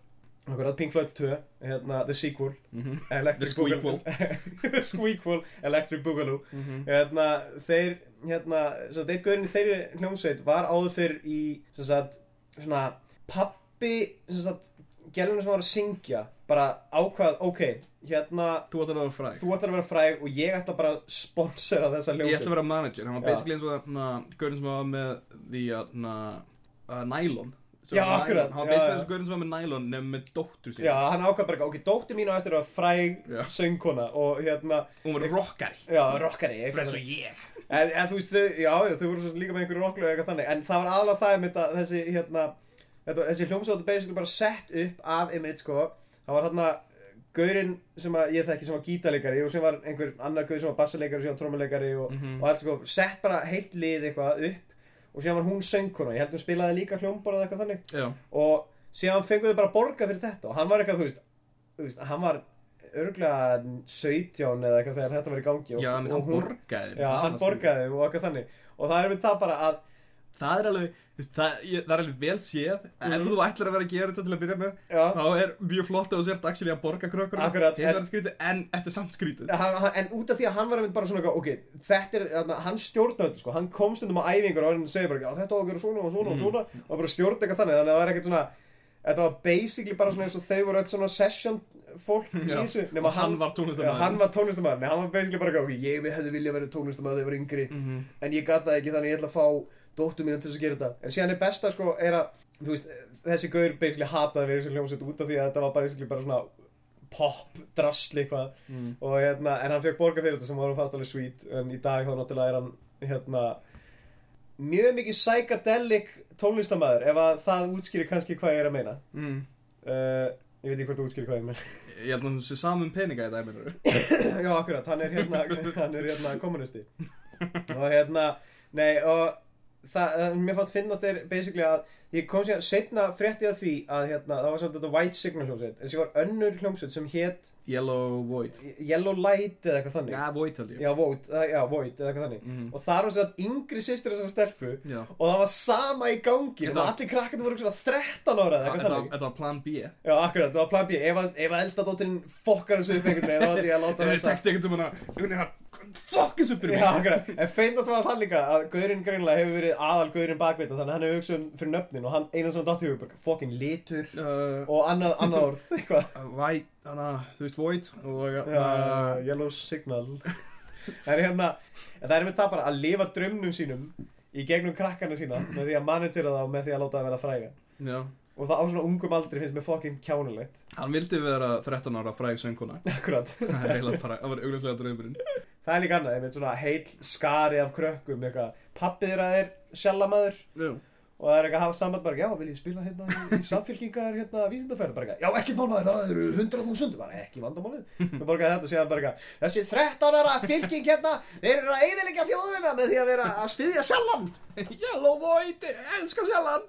okkur að Pink Floyd 2 hérna, The Sequel
Mhm.
Electric
The Squeakquel.
Boogaloo- (laughs) The Squeakquel Electric Boogaloo hérna, þeir, hérna, svo eitt gaurin í þeirri hljómsveit var áður fyrr í, sem sagt, svona pappi, sem sagt gælunum sem var að syngja, bara ákvað ok, hérna
Þú ætlar að vera fræg
þú ætlar að vera fræg og ég ætla bara að sponsera þessa
Ég ætla
ljómsveit
að vera manager, hann var
Já.
basically eins og þarna Gaurin sem var með því þarna uh, Nylon Sem
Já,
var Nylon.
akkurat,
Hann
já,
var basically
já.
eins og gaurin sem var með Nylon nefn með dóttur sín
Já, hann ákvað bara, ok, dóttir mín á eftir að vera fræg
Já.
söngkona og hérna,
Hún var rockari
já, rockari eitthvað
Eins
þannig.
og ég
en, en þú veist, þau, já, já, þau voru svo sem líka með einhverju rocklu eitthvað þannig, en það var aðalega það einmitt að þessi, hérna, þetta, þessi hljómsveit er basically bara sett upp af einmitt, sko, það var þarna gaurinn sem að ég þekki sem var gítarleikari og sem var einhver annar gaur sem var bassaleikari og sem var trommuleikari og,
Mhm.
og allt sko, sett bara heilt lið eitthvað upp og síðan var hún söngkona, ég held hún spilaði líka hljómborð eitthvað þannig
Já,
og síðan fenguðu bara borga fyrir þetta og hann var eitthvað, þú veist, þú veist hann var örglega 17 eða eitthvað þegar þetta var í gangi og,
já
og
menn hann borgaði
já,
Það sko.
hann
var skrítið.
borgaði og eitthvað þannig og það er við það bara að
Það er alveg, þú veist, það, ég, það er alveg vel séð
Mhm.
Ef þú ætlar að vera að gera þetta til að byrja með
já,
Þá er mjög flott að þú sért actually að borga krökkur
Akkurat,
Hitt
en-
verður skrítið en þetta er samt skrítið
hann, hann, en út af því að hann var einmitt bara svona eitthvað, ok, þetta er, þarna, hann stjórnaði þetta, sko, hann kom stundum á æfingar og hann segi bara, já þetta á að gera svona og
Mm.
svona og svona og bara stjórnaði eitthvað þannig, þannig að það var ekkert svona þetta var basically bara svona eins og þau voru öll svona session fólk í
Já,
þessu
og hann var
Já,
tónlistarmaður.
hann var tónlistamæður, nei, hann var basically bara eitthvað, ok, ég hefði viljað vera tónlistamæður þegar ég var yngri
Mm.
en ég gat það ekki þannig ég ætla að fá dóttu mínu til þess að gera þetta en síðan er besta sko er að þú veist, þessi gaur basically hataði verið sem hljómsveit út af því að þetta var basically bara svona pop, drasli eitthvað og hérna, en hann fekk borga fyrir þetta sem var hann fast alveg sweet en í dag þá náttúrulega er hann hérna mjög mikið psychedelic tónlistamæður ef að það útskýrir kannski hvað ég er að meina
mm.
uh, ég veit ekki hvort þú útskýrir hvað ég meina (laughs)
Ég held að hún sé saman um peninga í dag, mennur
Já, akkurat, hann er hérna, hann er hérna kommunisti og hérna, nei og það, það- mér fannst finnast þeir basically að ég kom síðan, setna frétti að því að hérna, það var samt þetta White Signal hljómsveit en sér var önnur hljómsveit sem hétt
Yellow Void
Yellow Light eða eitthvað þannig
Já, Void held ég
Já, Void, eða- já, Void eða eitthvað þannig
Mhm.
og þar var sér að yngri sýstur þessar stelpu
Já.
og það var sama í gangi
Þetta
og
var-
allir krakkandi voru svona 13 ára eða
Þetta
eitthvað
var-
þannig
þetta var plan B
Já, akkurat, það var plan B ef að- ef að elsta dóttirinn fokkar þessu upp einhvern veginn þá ætti ég að láta
Það er
þessa-
text ekkert um hana Hún er að Fuck þessu fyrir
Já,
mig
akkurat, en feindast var það líka að gaurinn greinlega hefur verið aðal gaurinn bakveita þannig að hann hefur hugsað um fyrir nöfnin og hann eina sem dátti hefur bara fucking litur
Uh,
og annað, annað orð, eitthvað
White, hana, þú veist Void Og
uh,
uh,
Yellow signal (laughs) En hérna, en það er með það bara að lifa draumnum sínum í gegnum krakkana sína með því að managera það og með því að láta það vera fræga
Já
og það á svona ungum aldri finnst mér fucking kjánulegt
Hann vildi vera 13 ára fræg sönguna
(laughs) Akkurat
Það er eiginlega bara, það var augljóslega draumurinn
Það er líka annað, einmitt svona heil skari af krökkum eitthvað, pappið þeirra er sjálfamaður
Já
og það er eitthvað að hafa samband bara, já, vil ég spila hérna í- í samfélkingar hérna vísindafæri, bara eitthvað, já, ekkert málmaður, það eru 100.000, bara ekki vandamálið og bara eitthvað þetta, síðan bara eitthvað, þessi 13 ára fylking hérna, þeir eru að eyðilegja þjóðina með því að vera að styðja sjálfan
(laughs) Yellow Void, elskar sjallan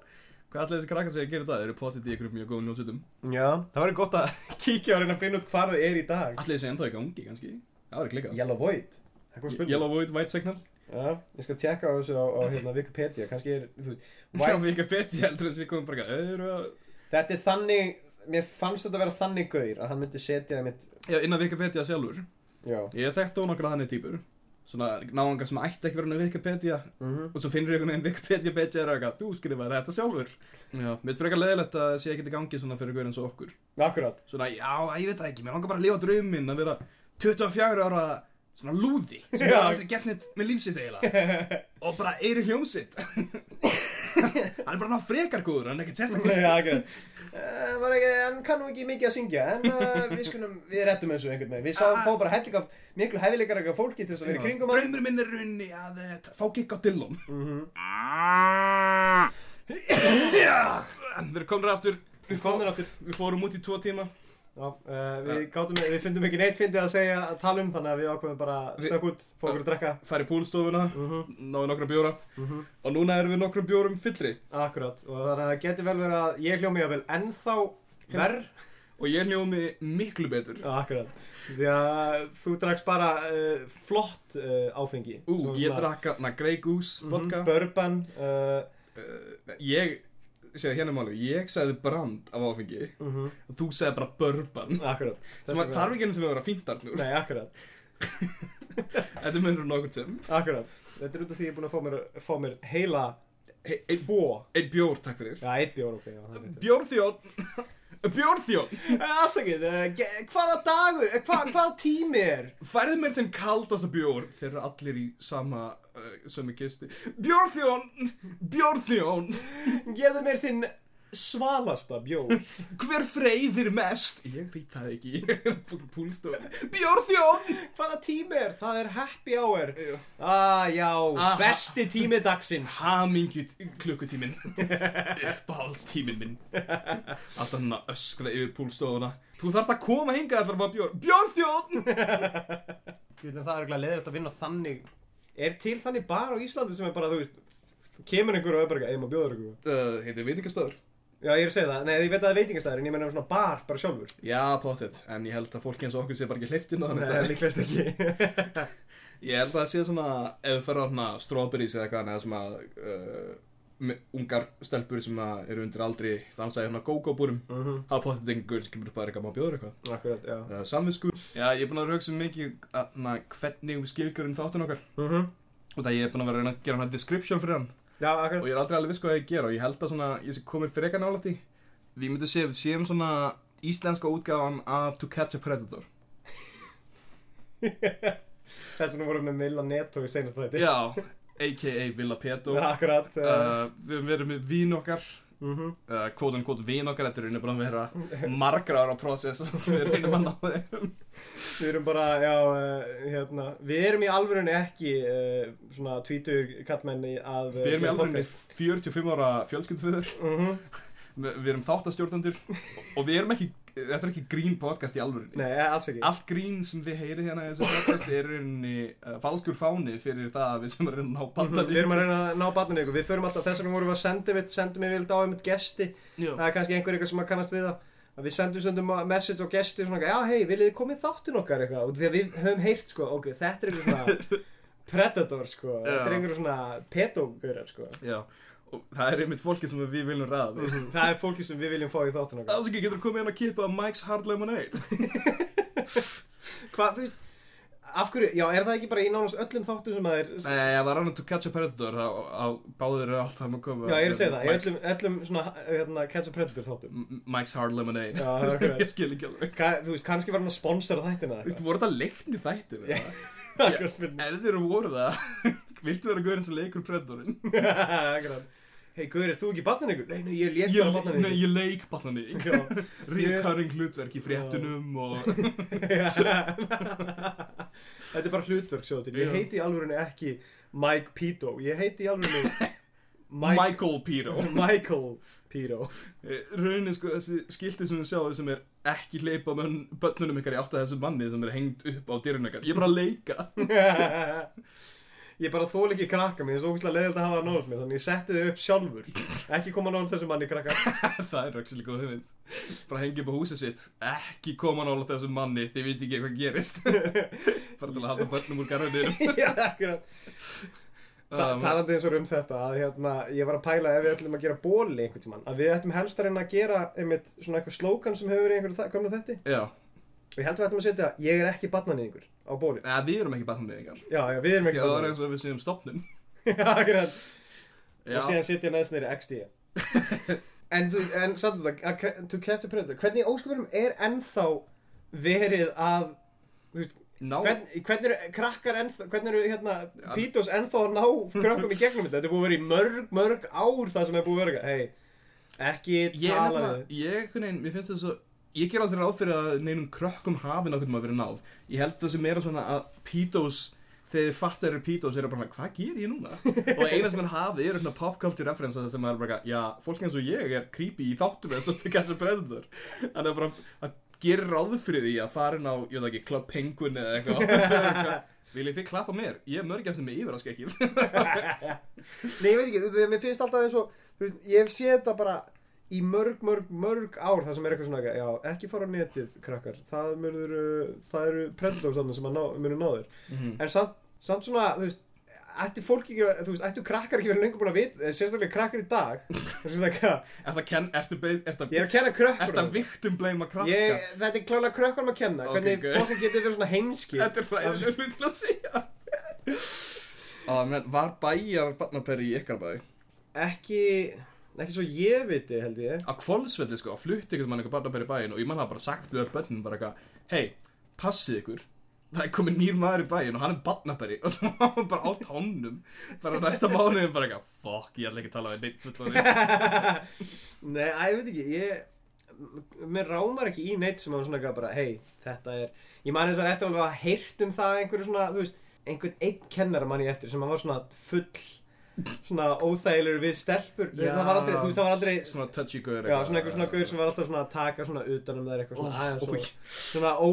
Hvað allir þessi krakkar segja að gera í dag? Þeir eru potið í einhverjum mjög góðum ljósutum
Já, það var gott að kíkja og reyna að finna út hvað þau er í dag
Allir þessi ennþá í gangi kannski Það var ekki líka
Yellow Void, Eitthvað spurning?
Yellow Void White Signal
Já, ég skal tjekka á þessu á, á hérna, Wikipedia, kannski er, þú (laughs) veist,
Já,
white,
Wikipedia heldur þess að við komum bara eitthvað, "Þau eru að
þetta er þannig, mér fannst þetta að vera þannig gaur að hann myndi setja það mitt,
Já, innan Wikipedia sjálfur
já,
Ég þekkti á nokkra þannig típur Svona náðanga sem ætti ekki verið með Wikipedia
mhm,
Og svo finnur ég einhvern veginn Wikipedia page er eitthvað Þú skrifaði þetta sjálfur Já, mér finnst frekar leðilegt að það sé ekkert í gangi svona fyrir guður eins og okkur
akkurat,
Svona, já, æ, ég veit það ekki, mér langar bara að lifa drauminn að vera 24 ára svona lúði sem
Já.
hefur aldrei gert neitt með lífsitt eiginlega (laughs) og bara er í (laughs) hljómsitt hann er bara ná frekar góður, hann er ekkert sérstaklega
já, akkurat, uh, var ekki, hann kannum ekki mikið að syngja, en
(laughs)
uh, við skulum, við rettum þessu einhvern veginn, við sáum
Ah.
fá bara helling af, miklu hefileikar eitthvað fólki til þess að vera í kringum hann,
Draumur minn er runni að eh, t- fá gikk á Dillon
mhm,
Já, Við erum komnir aftur Við
Komnir aftur.
Við fórum út í tvo tíma
já, uh, við gátum, við fundum ekki neitt fyndið að segja, að tala um, þannig að við ákveðum bara,
Vi-
stökk út, fá okkur að drekka,
Fær í púlstofuna
mhm,
Náðu nokkra bjóra
mhm,
Og núna erum við nokkra bjórum fyllri
akkurat, og þannig að það geti vel verið að ég hljómi að vel ennþá verð,
Og ég njómi miklu betur
Já, akkurat. Því að þú drakst bara uh, flott uh, áfengi.
Ú,
Svona
ég
svona Mhm.
drakk að Grey Goose vodka
Bourbon. Uh,
uh, Ég Sér hérna máli Ég sagði brand af áfengi
uh
Og þú sagði bara bourbon
Akkurat.
Mhm. Sem að þarf ekki einu sem að vera fínt arnur
Nei, akkurat.
Þetta munur nokkur sem
Akkurat. Þetta er út af því ég er búin að fá mér, fá mér heila
Hey, Einn
tvo.
ein bjór, takk fyrir
Já, eitt bjór, ok. Já, það er rétt.
(laughs) Bjórþjón Bjórþjón
Eh, Afsakið, uh, ge- hvaða dagur, eh, hva, hvaða tími er?
Færðu mér þeim kaldasta bjór Þeir eru allir í sama uh, Sömi kisti Bjórþjón Bjórþjón
Geðu mér þinn svalasta (laughs) bjór.
Hver freyðir mest? Ég veit það ekki (laughs) Púlstof Bjórþjón
hvaða tími er? Það er happy hour.
Já.
Ah, já,
Aha.
besti tími (laughs) dagsins.
Hamingju klukkutíminn (laughs) Uppáhaldstíminn minn (laughs) Alltaf hann að öskra yfir púlstofuna Þú þarft að koma hingað allar bara bjór Bjórþjón
Ég veit að það er eiginlega leðilegt að vinna þannig Er til þannig bar á Íslandi sem er bara, þú veist Kemur einhver og er bara eitthvað, eða maður bjóður einhver
uh, Heitir vitingastöður
Já, ég er að segja það, nei, ég veit að það er veitingastæður En ég meina svona bar bara sjálfur
Já, pottet En ég held að fólki eins og okkur sé bara ekki hleyftinn
Nei, það er líklegast ekki (laughs)
Ég held að það sé svona Ef við ferðum á strawberries eða eitthvað Eða svona uh, me- Ungar stelpur sem að eru undir aldri Dansaði hérna go-go-búrum
Mhm.
Það er pottet einhver gaur sem kemur upp að er eitthvað Má bjóður eitthvað
Akkurat, já
uh, Samvisku Já, ég er búin að vera að hugsa um mikið na, Hvernig við skilgjörum þáttun okkar
mm -hmm.
Og það ég er búin að vera að reyna að gera hann description fyrir hann
Já, akkurat
Og ég er aldrei alveg viss hvað ég gera Og ég held að svona Ég sé komið frekar nála því Við myndum sé Við séum svona Íslenska útgáfan af To Catch a Predator
(laughs) Þess vegna vorum við með Milla Neto í seinast (laughs) þetta
Já A.k.a. Villa Peto uh,
Akkurat uh,
Við höfum verið með vín okkar
mm
uh, Kvótan kvót vín okkar Þetta er reynir búin að vera Margra ára prósess Sem við reynum að ná þeim
Við erum bara, já, uh, hérna Við erum í alvörunni ekki uh, svona tvítur kattmenni að uh,
Við erum í
gera
alveg
podcast.
45 ára fjölskyldföður
Mhm.
Við við erum þáttastjórnandur Og við erum ekki Þetta er ekki grín podcast í alvörinni
Nei, eh, alls ekki
Allt grín sem þið heyrið hérna í þessu podcast er rauninni uh, falskur fáni fyrir það að við sem erum að ná
Mhm,
bandar
Við erum að reyna að ná batninu ykkur, við förum alltaf þess vegna vorum við að senda við, sendum við vilt á einmitt gesti, það er kannski einhver eitthvað sem að kannast við það, að við sendum stundum að message á gesti svona, já hei, viljið þið komið þáttin okkar eitthvað, og því að við höfum heyrt sko, ok, þetta er einhver (laughs) svona predator sko, þetta er
Já.
einhver svona pedógurar sko,
Já, og það er einmitt fólki sem við viljum ræða við.
það er fólki sem við viljum fá í þáttin okkar.
Það er ekki, getur komið inn að kippa Mike's Hard Lemonade
Hvað, þú veist, af hverju, já, er það ekki bara í nánast öllum þáttum sem að er,
(laughs) Nei, það var annað to catch a predator á, á báður eru alltaf að koma
já, ég er að segja það, í
Mike's,
öllum, öllum svona, hérna, catch a predator þáttum.
M- Mike's Hard Lemonade
Já, (laughs) það er akkurat.
(laughs) Ég skil ekki alveg
Ka, þú veist, kannski var hann að sponsora þættina
Þú veist, voru þetta leikni þættir
Já.
yeah.
Akkurat spurning.
(laughs) Ef þeir eru voru það (laughs) Viltu vera gaurinn sem leikur predatorin?
(laughs) Akkurat Hei Guður, ert þú ekki barnan ykkur? Nei, nei, ég létt bara barnan
nei, ég leik bannan ykkur
ykkur
Ríkaring hlutverk í fréttunum og
(laughs) Þetta er bara hlutverk sjóðu til Ég
Já.
heiti í alvörinu ekki Mike Pito Ég heiti í (laughs) alvörinu Mike,
Michael Piro
Michael Pito (laughs)
Raunin sko þessi skilti sem við sjáum sem er ekki hleypa mönn, bönnunum ykkar í átt að þessu manni sem er hengt upp á dyrun ykkar Ég er bara að leika
Ég ég bara þól ekki krakka mér, það er svo ógustlega leiðilt að hafa það nátt mér, þannig ég setti þau upp sjálfur. Ekki koma nátt þessu manni (laughs) krakka.
(laughs) það er rökslega góð hugmynd. Bara hengi upp á húsið sitt, ekki koma nála þessum manni, þið veit ekki hvað gerist. (laughs) bara til að hafa börnum úr garðinu.
Já, akkurat. (laughs) Ta
Um,
talandi eins og um þetta, að hérna, ég var að pæla ef við ætlum að gera bóli einhvern tímann, að við ættum helst að reyna að gera einmitt svona eitthvað slókan sem hefur verið í einhverju þa- gömlu þætti.
Já,
Og
Eh,
ég held við ættum að setja, ég er ekki barnanýðingur á bóli.
Eða, við erum ekki barnmiðingar.
Já, já, við erum
Já,
ekki
það er
(laughs) barnanýðingur.
eins og við séum stopnum.
Já, akkurat. Og
Já,
síðan setja neðst neyri XD.
(laughs)
en, þú- en samt þetta, að kre- to catch a predator, hvernig í ósköpunum er ennþá verið að, þú veist,
ná,
hvern, hvernig eru krakkar ennþá, hvernig eru hérna
Já.
Pítos ennþá að ná krökkum í gegnum þetta? Þetta er búið að vera í mörg, mörg ár það sem er búið að vera, hei, ekki
ég er
tala
nefnilega,
við.
ég, einhvern veginn, mér finnst þetta svo, ég ger aldrei ráð fyrir að neinum krökkum hafi nákvæmt maður verið náð. Ég held það sem meira svona að pítós, þegar þið fattar eru pítós, eru bara, hvað ger
(laughs)
ég núna? og eina sem hann hafi eru svona pop culture referensa sem er bara, já, fólk eins og ég er creepy í þáttum eins og til kannski predator. Þannig að bara, að gera ráð fyrir því að farin á, ég veit ekki, Club Penguin
(laughs)
eða eitthvað. Viljið þið klappa mér? Ég er mörgjast með yfirraskekkjum.
Nei, ég veit ekki, þú veist, mér finnst alltaf eins og, þú veist, ég hef séð þetta bara í mörg, mörg, mörg ár það sem er eitthvað svona, já, ekki fara á netið, krakkar, það mörður, það eru predators þarna sem að ná, munu ná þér.
Mhm.
En samt, samt svona, þú veist, ættu fólk ekki, að- þú veist, ættu krakkar ekki verið lengur búin að vita, sérstaklega krakkar í
(laughs)
dag, þú veist, það
(laughs) Er það kenn, ertu beð, er það
Ég er að kenna krökkur
Þetta viktum bleima krakka
Ég, þetta er klálega krökkunum að kenna
Ok,
Hvernig
good.
fólk getur verið svona heimski
Þetta er hlæðilegur hlut til að segja Á, menn, var bæjar barnaperi í ykkar bæ?
Ekki, ekki svo ég viti held ég
Á kvolsvelli, sko, flutti ykkur mann eitthvað barnaperi í bæin og ég mann hafa bara sagt við öll börnum bara eitthvað Hei, passið ykkur Það er komið nýr maður í bæin og hann er barnaperi (laughs) og svo var hann bara á tánum bara næsta mánuðin bara eitthvað Fuck, ég ætla ekki að tala við neitt fullan
Nei, að, ég veit ekki Ég, m- mér rámar ekki í neitt sem að svona eitthvað bara Hei, þetta er Ég man þessar eftir alveg að heyrt um það einhverju svona, þú veist Einhvern einn kennara man ég eftir sem að var svona full Svona óþægilegur við stelpur Það var aldrei, (laughs) þú veist, það var aldrei
Svona touchy gaur
Já, svona eitthvað svona gaur sem var alltaf svona að taka svona utan um þær eitthvað svona
Ó,
aðeins
ói.
og svona ó,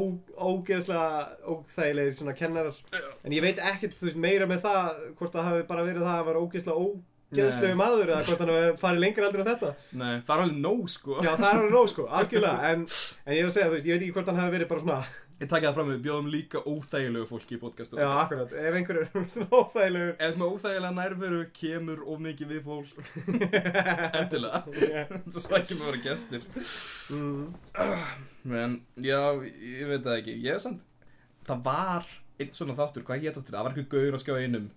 ógeðslega óþægilegir svona kennarar en ég veit ekkert, þú veist, meira með það hvort það hafi bara verið það að hann var ógeðslega ógeðslegu maður eða hvort hann hafi farið lengra aldrei en þetta
Nei, það er alveg nóg, sko
Já, það er alveg nóg sko, algjörlega en, en ég er að segja, þú veist, ég veit ekki hvort hann hafi verið bara svona
Ég taka það fram við bjóðum líka óþægilegu fólki í podcastum
Já, akkurat, ef einhverjur er (laughs) svona óþægilegur
(laughs) Ef maður óþægilega nærveru kemur of mikið við fólk Endilega (laughs) Svo svækjum að vera gestir
mm,
Men, já, ég veit það ekki Ég er samt Það var einn svona þáttur, hvað hétt þáttur? Það var eitthvað gaur að skjá einum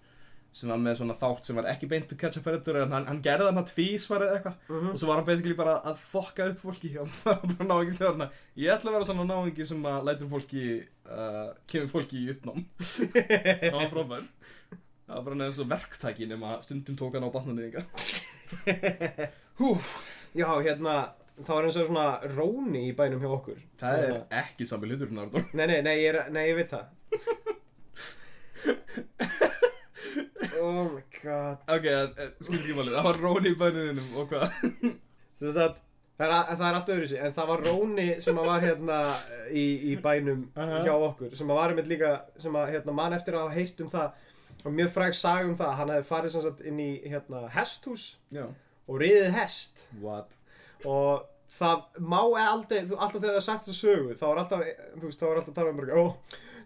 sem var með svona þátt sem var ekki beint to catch a predator en hann, hann gerði hann að tvísvarað eitthvað og svo var hann basically bara að fokka upp fólki og (laughs) hann var bara náingi sem var hann ég ætla að vera svona náingi sem að lætur fólki uh, kemur fólki í uppnám (laughs) það var frábær það var bara neðan svo verktæki nema stundum tók hann á batnunni ykkar
Já, hérna, þá er eins og svona róni í bænum hjá okkur
það er ekki sami hlutur Nardur
Nei, nei, nei, ég, er, nei, ég veit það Oh my god
ok, skilur ekki málið það var Róni í bænunum og hvað
Svo að, það, er, að- það er allt öðruvísi En það var Róni sem að var hérna í, í bænum
Aha.
hjá okkur Sem að var einmitt líka Sem að hérna, mann eftir að hafa heyrt um það Og mjög fræg saga um það Hann hefði farið sem sagt inn í hérna, hesthús
já
Og riðið hest
what
og það má aldrei, þú, alltaf þegar það er sagt þess að sögu þá er alltaf, þú veist, þá er alltaf að tala um bara, ó,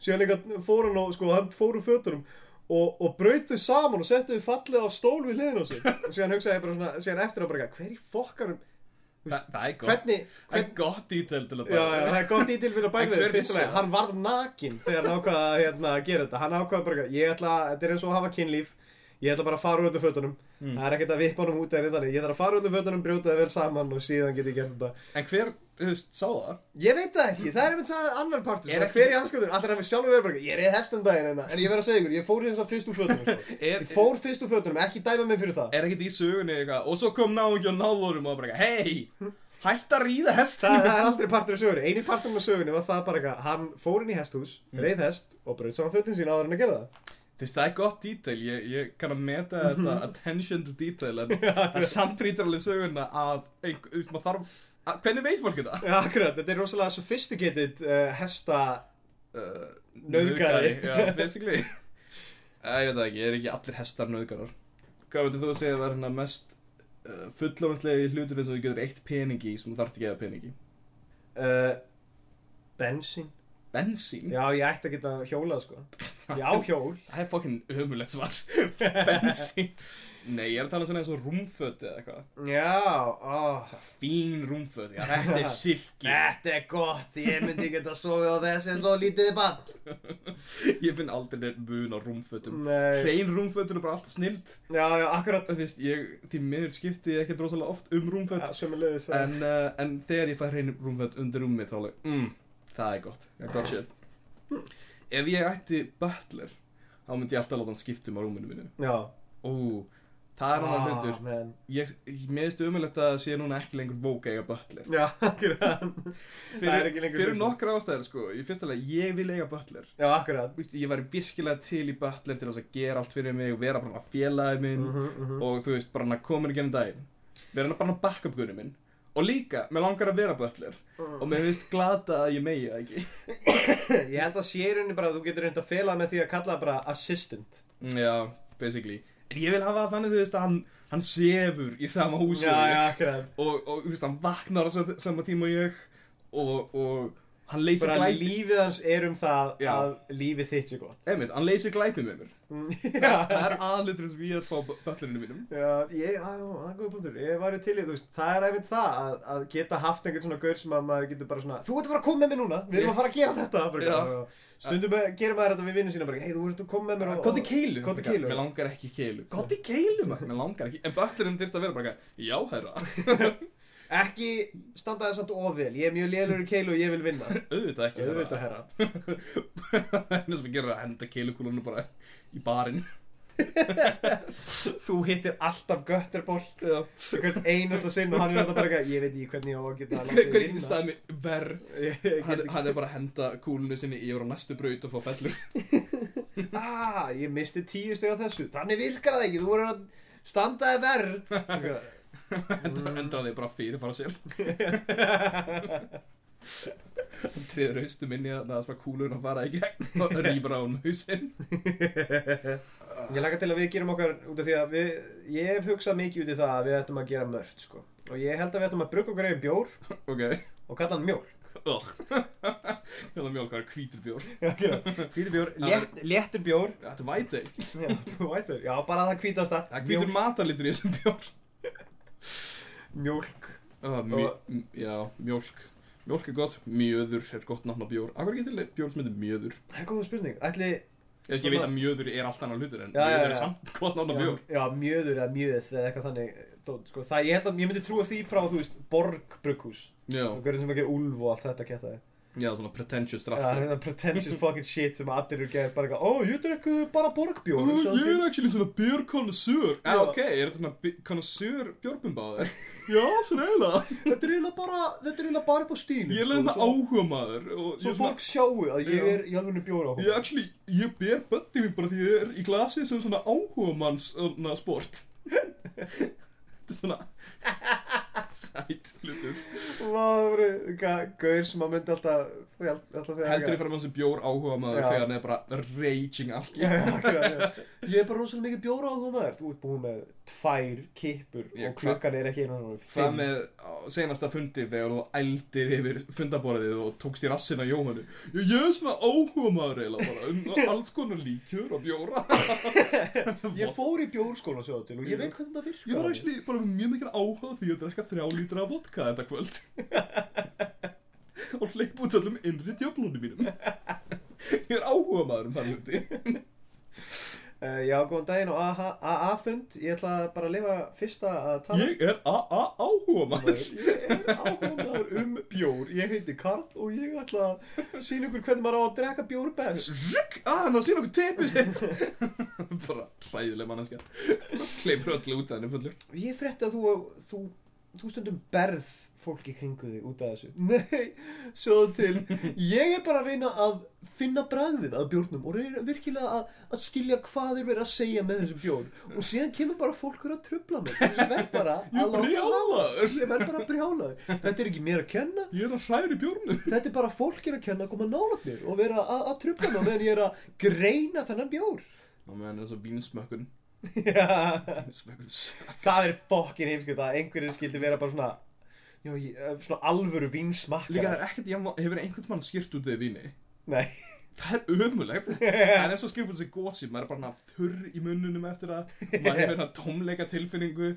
síðan líka fór hann og sko, hann fór úr fötunum og, og braut þau saman og settu þau fallið á stól við hliðin á sig og síðan hugsaði ég bara svona, síðan eftir að bara, eitthvað, hver í fokkarum
Þa, það er gott
hvernig,
það er
hvernig
gott dítel til að
Já, já, það er gott ítil fyrir að
En
bæði
hver
við fyrst
vissi
að
það?
hann varð nakin þegar hann ákvaða að hérna, gera þetta hann ákvaða bara, eitthvað, ég ætla, þetta er eins og að hafa kynlíf ég ætla bara að fara úr þetta fötunum
Mm.
það er ekkert að vippa honum út eða neitt þannig ég ætla að fara úr þetta fötunum, brjóta það vel saman og síðan get ég gert þetta
en hver, þú veist, sá það
Ég veit það ekki, það er einmitt það annar partur
Er
Er
ekki-
hver í anskotunum, alltaf er við sjálfur verið bara eitthvað, Ég reyði hestum daginn hérna, en ég verð að segja ykkur Ég fór hérna fyrst úr fötunum (laughs) sko.
er,
Ég fór fyrst úr fötunum, ekki dæma mig fyrir það
er ekkert í sögunni eitthvað og svo kom náungi og náðurum og bara hei, hætt að ríða
Það,
hestin
það er aldrei partur af sögunni, eini partur af sögunni var það bara eitthvað Hann fór inn í hesthús, reyð hest og braut saman fötun sín áður en að gera það
Þú veist, það er gott detail, ég, ég kann að meta þetta
(laughs)
attention to detail en það samt rítur alveg söguna af, ein- þú veist, maður þarf, að, hvernig veit fólk þetta?
Já, akkurat, þetta er rosalega sophisticated uh, hesta
Uh,
Nauðgari.
Já, basically. Eh, ég veit það ekki, er ekki allir hestar nöðgarar Hvað veitir þú að segja að það er hérna mest uh, fullofnallegi hlutur eins og þú getur eitt peningi í sem þú þarft ekki að gefa peningi
uh, Bensín
Bensín?
Já, ég ætti að geta hjólað sko Ég á hjól
Það er fokkin ömulegt svar (laughs) Bensín Nei, ég er að tala um svona eins og rúmföt eða eitthvað
Já, ó,
Fín rúmföt, já, þetta
(laughs)
er silki
Þetta er gott, ég myndi geta sofið á þess en þó lítið bann
Ég finn aldrei neitt mun á rúmfötum
Nei,
Hrein rúmföt eru bara alltaf snild
já, já, akkurat
Þú veist, ég, því miður skipti ég ekkert rosalega oft um rúmföt
ja, Sömmulegis
en, uh, en þegar ég fæ hrein rúmföt undir rúmi þá alveg, mm, það er gott, það er gott shit ef ég ætti butler þá myndi ég alltaf láta hann skipta um á rúminu mínu
Já
ó, það er hann
Ah,
hlutur
man.
ég, ég meðist umulegt að það sé núna ekki lengur vók eiga butler
Já, akkurat Það er
fyrir,
ekki lengur
fyrir
hlutur.
nokkra ástæður sko, í fyrsta lega ég vil eiga butler
Já, akkurat
Vist, ég væri virkilega til í butler til þess að gera allt fyrir mig og vera bara félagi minn
Mhm.
og þú veist, bara hann að koma í gennum daginn vera hann bara að backup gunni minn og líka, mér langar að vera butler
Mhm.
og mér finnst glata að ég megi það ekki (laughs)
Ég held að sérunni bara að þú getur reynda að fela með því að kalla það bara assistant
já, basically en ég vil hafa það þannig, þú veist, að hann, hann sefur í sama húsi
Já, já, akkurat
og, og þú veist, hann vaknar á sa- sama tíma og ég og, og hann leysir
Bara
glæpi
lífið hans er um það
Já.
að lífið þitt sé
(laughs)
gott
einmitt, hann leysir glæpi með mér
Já
það er aðlutur sem ég er að fá bu- butlerinu mínum
Já, ég, á, já, það er góð punktur, ég væri til í þú veist, það er einmitt það að, að geta haft einhvern svona gaur sem að maður getur bara svona, þú ert að fara að koma með mér núna, við erum að fara að gera þetta, bara,
Já.
já. stundum ja. gerir maður þetta við vinnum sína, bara, hei, þú ert að koma með mér og,
Gótti keilu
Gott í keilu.
Mér langar ekki í keilu Gótti keilu maður. Mér langar ekki En butlerinn þyrfti að vera bara eitthvað, Já
(laughs)
herra
ekki standa þess að of vel, ég er mjög lélur í keilu og ég vil vinna,
Auðvitað ekki (laughs)
auðvitað herra,
henni sem við gerum er að henda keilukúlunum bara í barinn
þú hittir alltaf götterból,
Já.
hvert einasta sinn og hann er alltaf bara, eitthvað, ég veit ekki hvernig ég á að geta látið
(laughs) hver getur
vinna."
staðið mig verð
(laughs) Ég- ég
hann,
get ekki-
hann er bara að henda kúlunni sinni yfir á næstu braut og fá fellur (laughs)
Ah, ég misti tíu steg á þessu, þannig virkar það ekki, þú voru að standaði verð
henda, henda þig bara fyrir fara sér hann treður haustum inn í að það sem að kúlun að fara í
(laughs)
gegn og rýfur á hann hausinn
(laughs) Ég laka til að við gerum okkar út af því að við, ég hef hugsað mikið út í það að við ættum að gera mörgt sko. Og ég held að við ættum að brugga okkar einn bjór
ok
og kalla hann (laughs) mjólk.
Ugh. (laughs) hérna mjólkar hvítur bjór
Hvítur bjór, létt, léttur bjór,
þetta er væti
já, (laughs) vætur, já bara það hvítast það.
það er hvítur matalitur í þessum bjór
mjólk.
Ah, mj m- já, mjólk Mjólk er gott, mjöður er gott nafn á bjór Af hverju getur bjór sem heitir mjöður?
Það er góð spurning. Ætli,
Ég, veist, ég veit að mjöður er allt annar hlutur en
Já, já,
mjöður
já.
er samt gott nafn á
já,
bjór
já, mjöður eða mjöð eða eitthvað þannig. Dót, sko. Það, ég held að ég myndi trúa því frá, þú veist, borg brugghús.
Já,
Og hverjum sem að gera úlf og allt þetta kætaði.
já svona pretentious
Já,
draft
það er pretentious fucking shit sem allir eru gerð bara eitthvað, ó, ég drekku bara borgbjór.
Ú, Ég er actually svona bjór konusur Já,
Já.
ok, er þetta svona konusur bjórbumbaður? já, svona eiginlega
Þetta er eiginlega bara, þetta er eiginlega bara upp á stílinn. sko,
Ég er leina áhuga maður og ég
Svo
er svona-
fólk sjáu að ég
Já.
er í alveg bjóra á
Ég actually, ég ber böndið mér bara því ég er í glasi sem svona áhugamanns na, sport Þetta er svona Sæt hlutur
Það voru ga- gaur sem að myndi alltaf, alltaf þegar
Heldur ég fram hans sem bjór áhugamann
Já.
þegar hann er bara raging allt
Já, já, akkurat, já. (laughs) Ég er bara rosalega mikið bjóra á þú maður. Þú ert búin með tvær kippur
Já,
og
hva-
klukkan er ekki einu og
Hvað með á senasta fundið þegar þú ældir yfir fundaborðið og tókst í rassin á Jóhannu Ég ég er svona áhugamann eiginlega bara um alls konar líkjur og bjóra
Ég fór í bjórskóla sjóðu til og ég
Já.
veit hvernig það virkar.
Ég var actually bara með mjög mikil áhuga á því að drekka þrjá lítra af vodka þetta (laughs) kvöld og hleypa út öllum innri djöflunum mínum Ég er áhuga maður um það hluti
Uh, já, góðan daginn og aha- AA-fund. Ég ætla bara að lifa fyrsta að tala.
Ég er a-a áhuga maður
Ég er áhugaður um bjór. Ég heiti Karl og ég ætla að sína ykkur hvernig maður á að drekka bjór best.
Zrugg, að Ah, hann á sín okkur tepið sitt (laughs) Bara hræðileg manneskja Hleypur öllu út að henni fullur
Ég frétti að þú, þú, þú stundum berð fólki kringu þig út af þessu. (laughs) Nei, sjóðu til. Ég er bara að reyna að finna bræðið að bjórnum og reyna virkilega að, að skilja hvað þeir verið að segja með þessum bjórn. Og síðan kemur bara fólkur að trubla mig. Ég verð bara
Ég er
að hafa.
brjálaður
Ég verð bara að brjála þig. Þetta er ekki mér að kenna.
Ég er að hræðir í bjórnum
Þetta er bara fólk er að kenna að koma nálat mér og vera að, að trubla mig á meðan ég er að greina þennan bjór.
á meðan eins og vínsmökkun
Já.
vínsmökkun
það er fokkin heimskuð að einhverjir skildi vera bara svona já, ég, eh, svona alvöru
líka það
vínsmakkar
er ekkert jafn, hefur einhvern mann skýrt út þegar víni
nei,
það er (laughs) ömulegt það er eins og skýrt út þessi gósi maður er bara hana þurr í munnunum eftir það maður hefur hana tómleika tilfinningu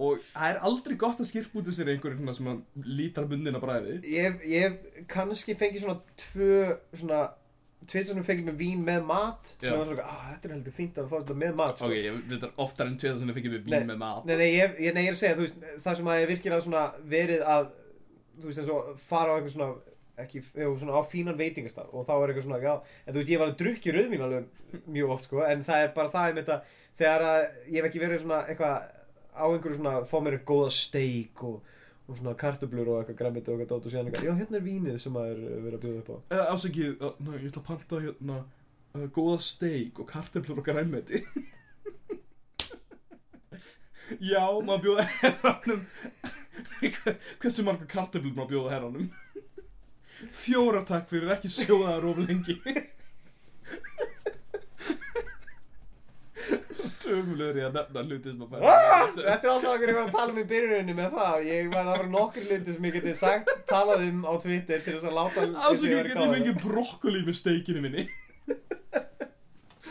og það er aldrei gott að skýrt út þessir einhverjum svona sem að lítar munnina bræði
ég, ég kannski fengi svona tvö svona tvið sem fengið með vín með mat
Já.
sem var svona, ah, þetta er heldur fínt að fá þetta með mat sko."
ok, ég veit það oftar en tveið sem fikk ég við vín
Nei,
með mat
Nei, nei, ég, ég, nei, ég er að segja, þú veist, það sem að ég virkilega svona verið að, þú veist, eins og fara á eitthvað svona, ekki, jú, svona á fínan veitingastar og þá er eitthvað svona, já, en þú veist, ég var að drukki rauðvín alveg mjög oft, sko, en það er bara það einmitt að þegar að ég hef ekki verið svona eitthvað á einhverju svona, fá mér eitthvað góða steik og, og svona kartöblur og eitthvað græmiti og eitthvað dót og síðan eitthvað, já, hérna er vínið sem maður er verið að bjóða upp á.
Eh, afsakið, uh, ná, ég ætla að panta hérna uh, góða steik og karteflur og grænmeti (laughs) Já, maður bjóða herranum (laughs) Hversu marga karteflur maður bjóða herranum? (laughs) Fjórar takk fyrir ekki sjóðaðar of lengi (laughs) Tömulegur ég að nefna hluti sem að
Ah,
færa
Þetta er alltaf okkur ég var að tala um í byrjunni með það Ég var að vera nokkur lindir sem ég geti sagt talað um á Twitter til þess að láta
Afsakið, get
um.
ég fengið brokkoli með steikinu minni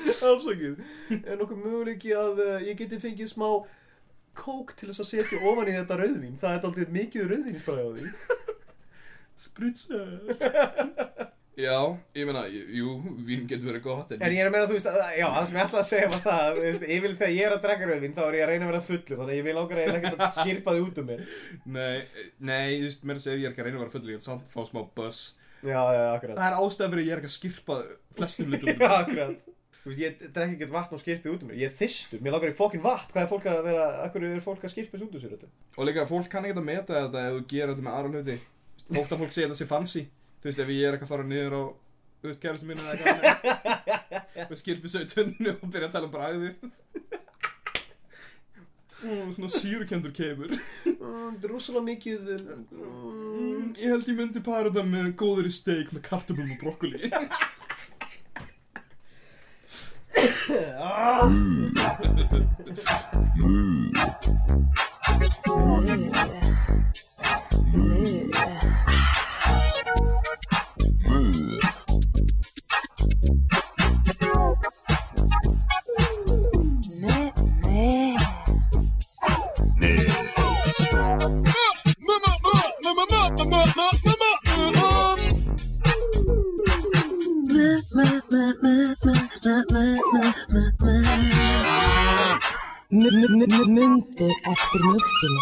Afsakið, er nokkuð möguleiki að uh, ég geti fengið smá kók til þess að setja ofan í þetta rauðvín Það er aldrei mikið rauðvínsbræði á því
Spritzer (laughs) Já, ég meina, jú, vín getur verið gott
En ég er að meina, þú veist, að, já, það sem ég ætlaði að segja var það þú veist, Ég vil þegar ég er að drekka rauðvín þá er ég að reyna að vera fullur Þannig að ég vil langar eiginlega ekki að skirpa þið út um mér
Nei, nei, þú veist, mér að segja ef ég er ekki að reyna að vera full Ég er samt að fá smá buss
Já, já, akkurat
Það er ástæðan fyrir að ég er ekki að skirpa flestum litum
Já, akkurat Þú veist, ég drekki ekkert vatn og skirpi út um mér Ég er þystur, mér langar í fokkin vatn Hvað er fólk að vera, akkur er fólk að skirpa þessu út um sér þetta?
(laughs) Og líka, fólk kann ekki að meta þetta ef þú gerir þetta með aðra hluti Þótt að fólk segja þetta sé fancy Þú veist, ef ég er ekki að fara niður á Þú veist, kæristu mín er ekki (laughs) að Með skirpi svo í tunnu og byrja að tala um bragði Mm, Svona sírukendur kemur
Mm, Drússalega mikið mm,
Mm, ég held ég myndi para það með góðri steik með kartöflum og brokkoli
ah.
Mömmu.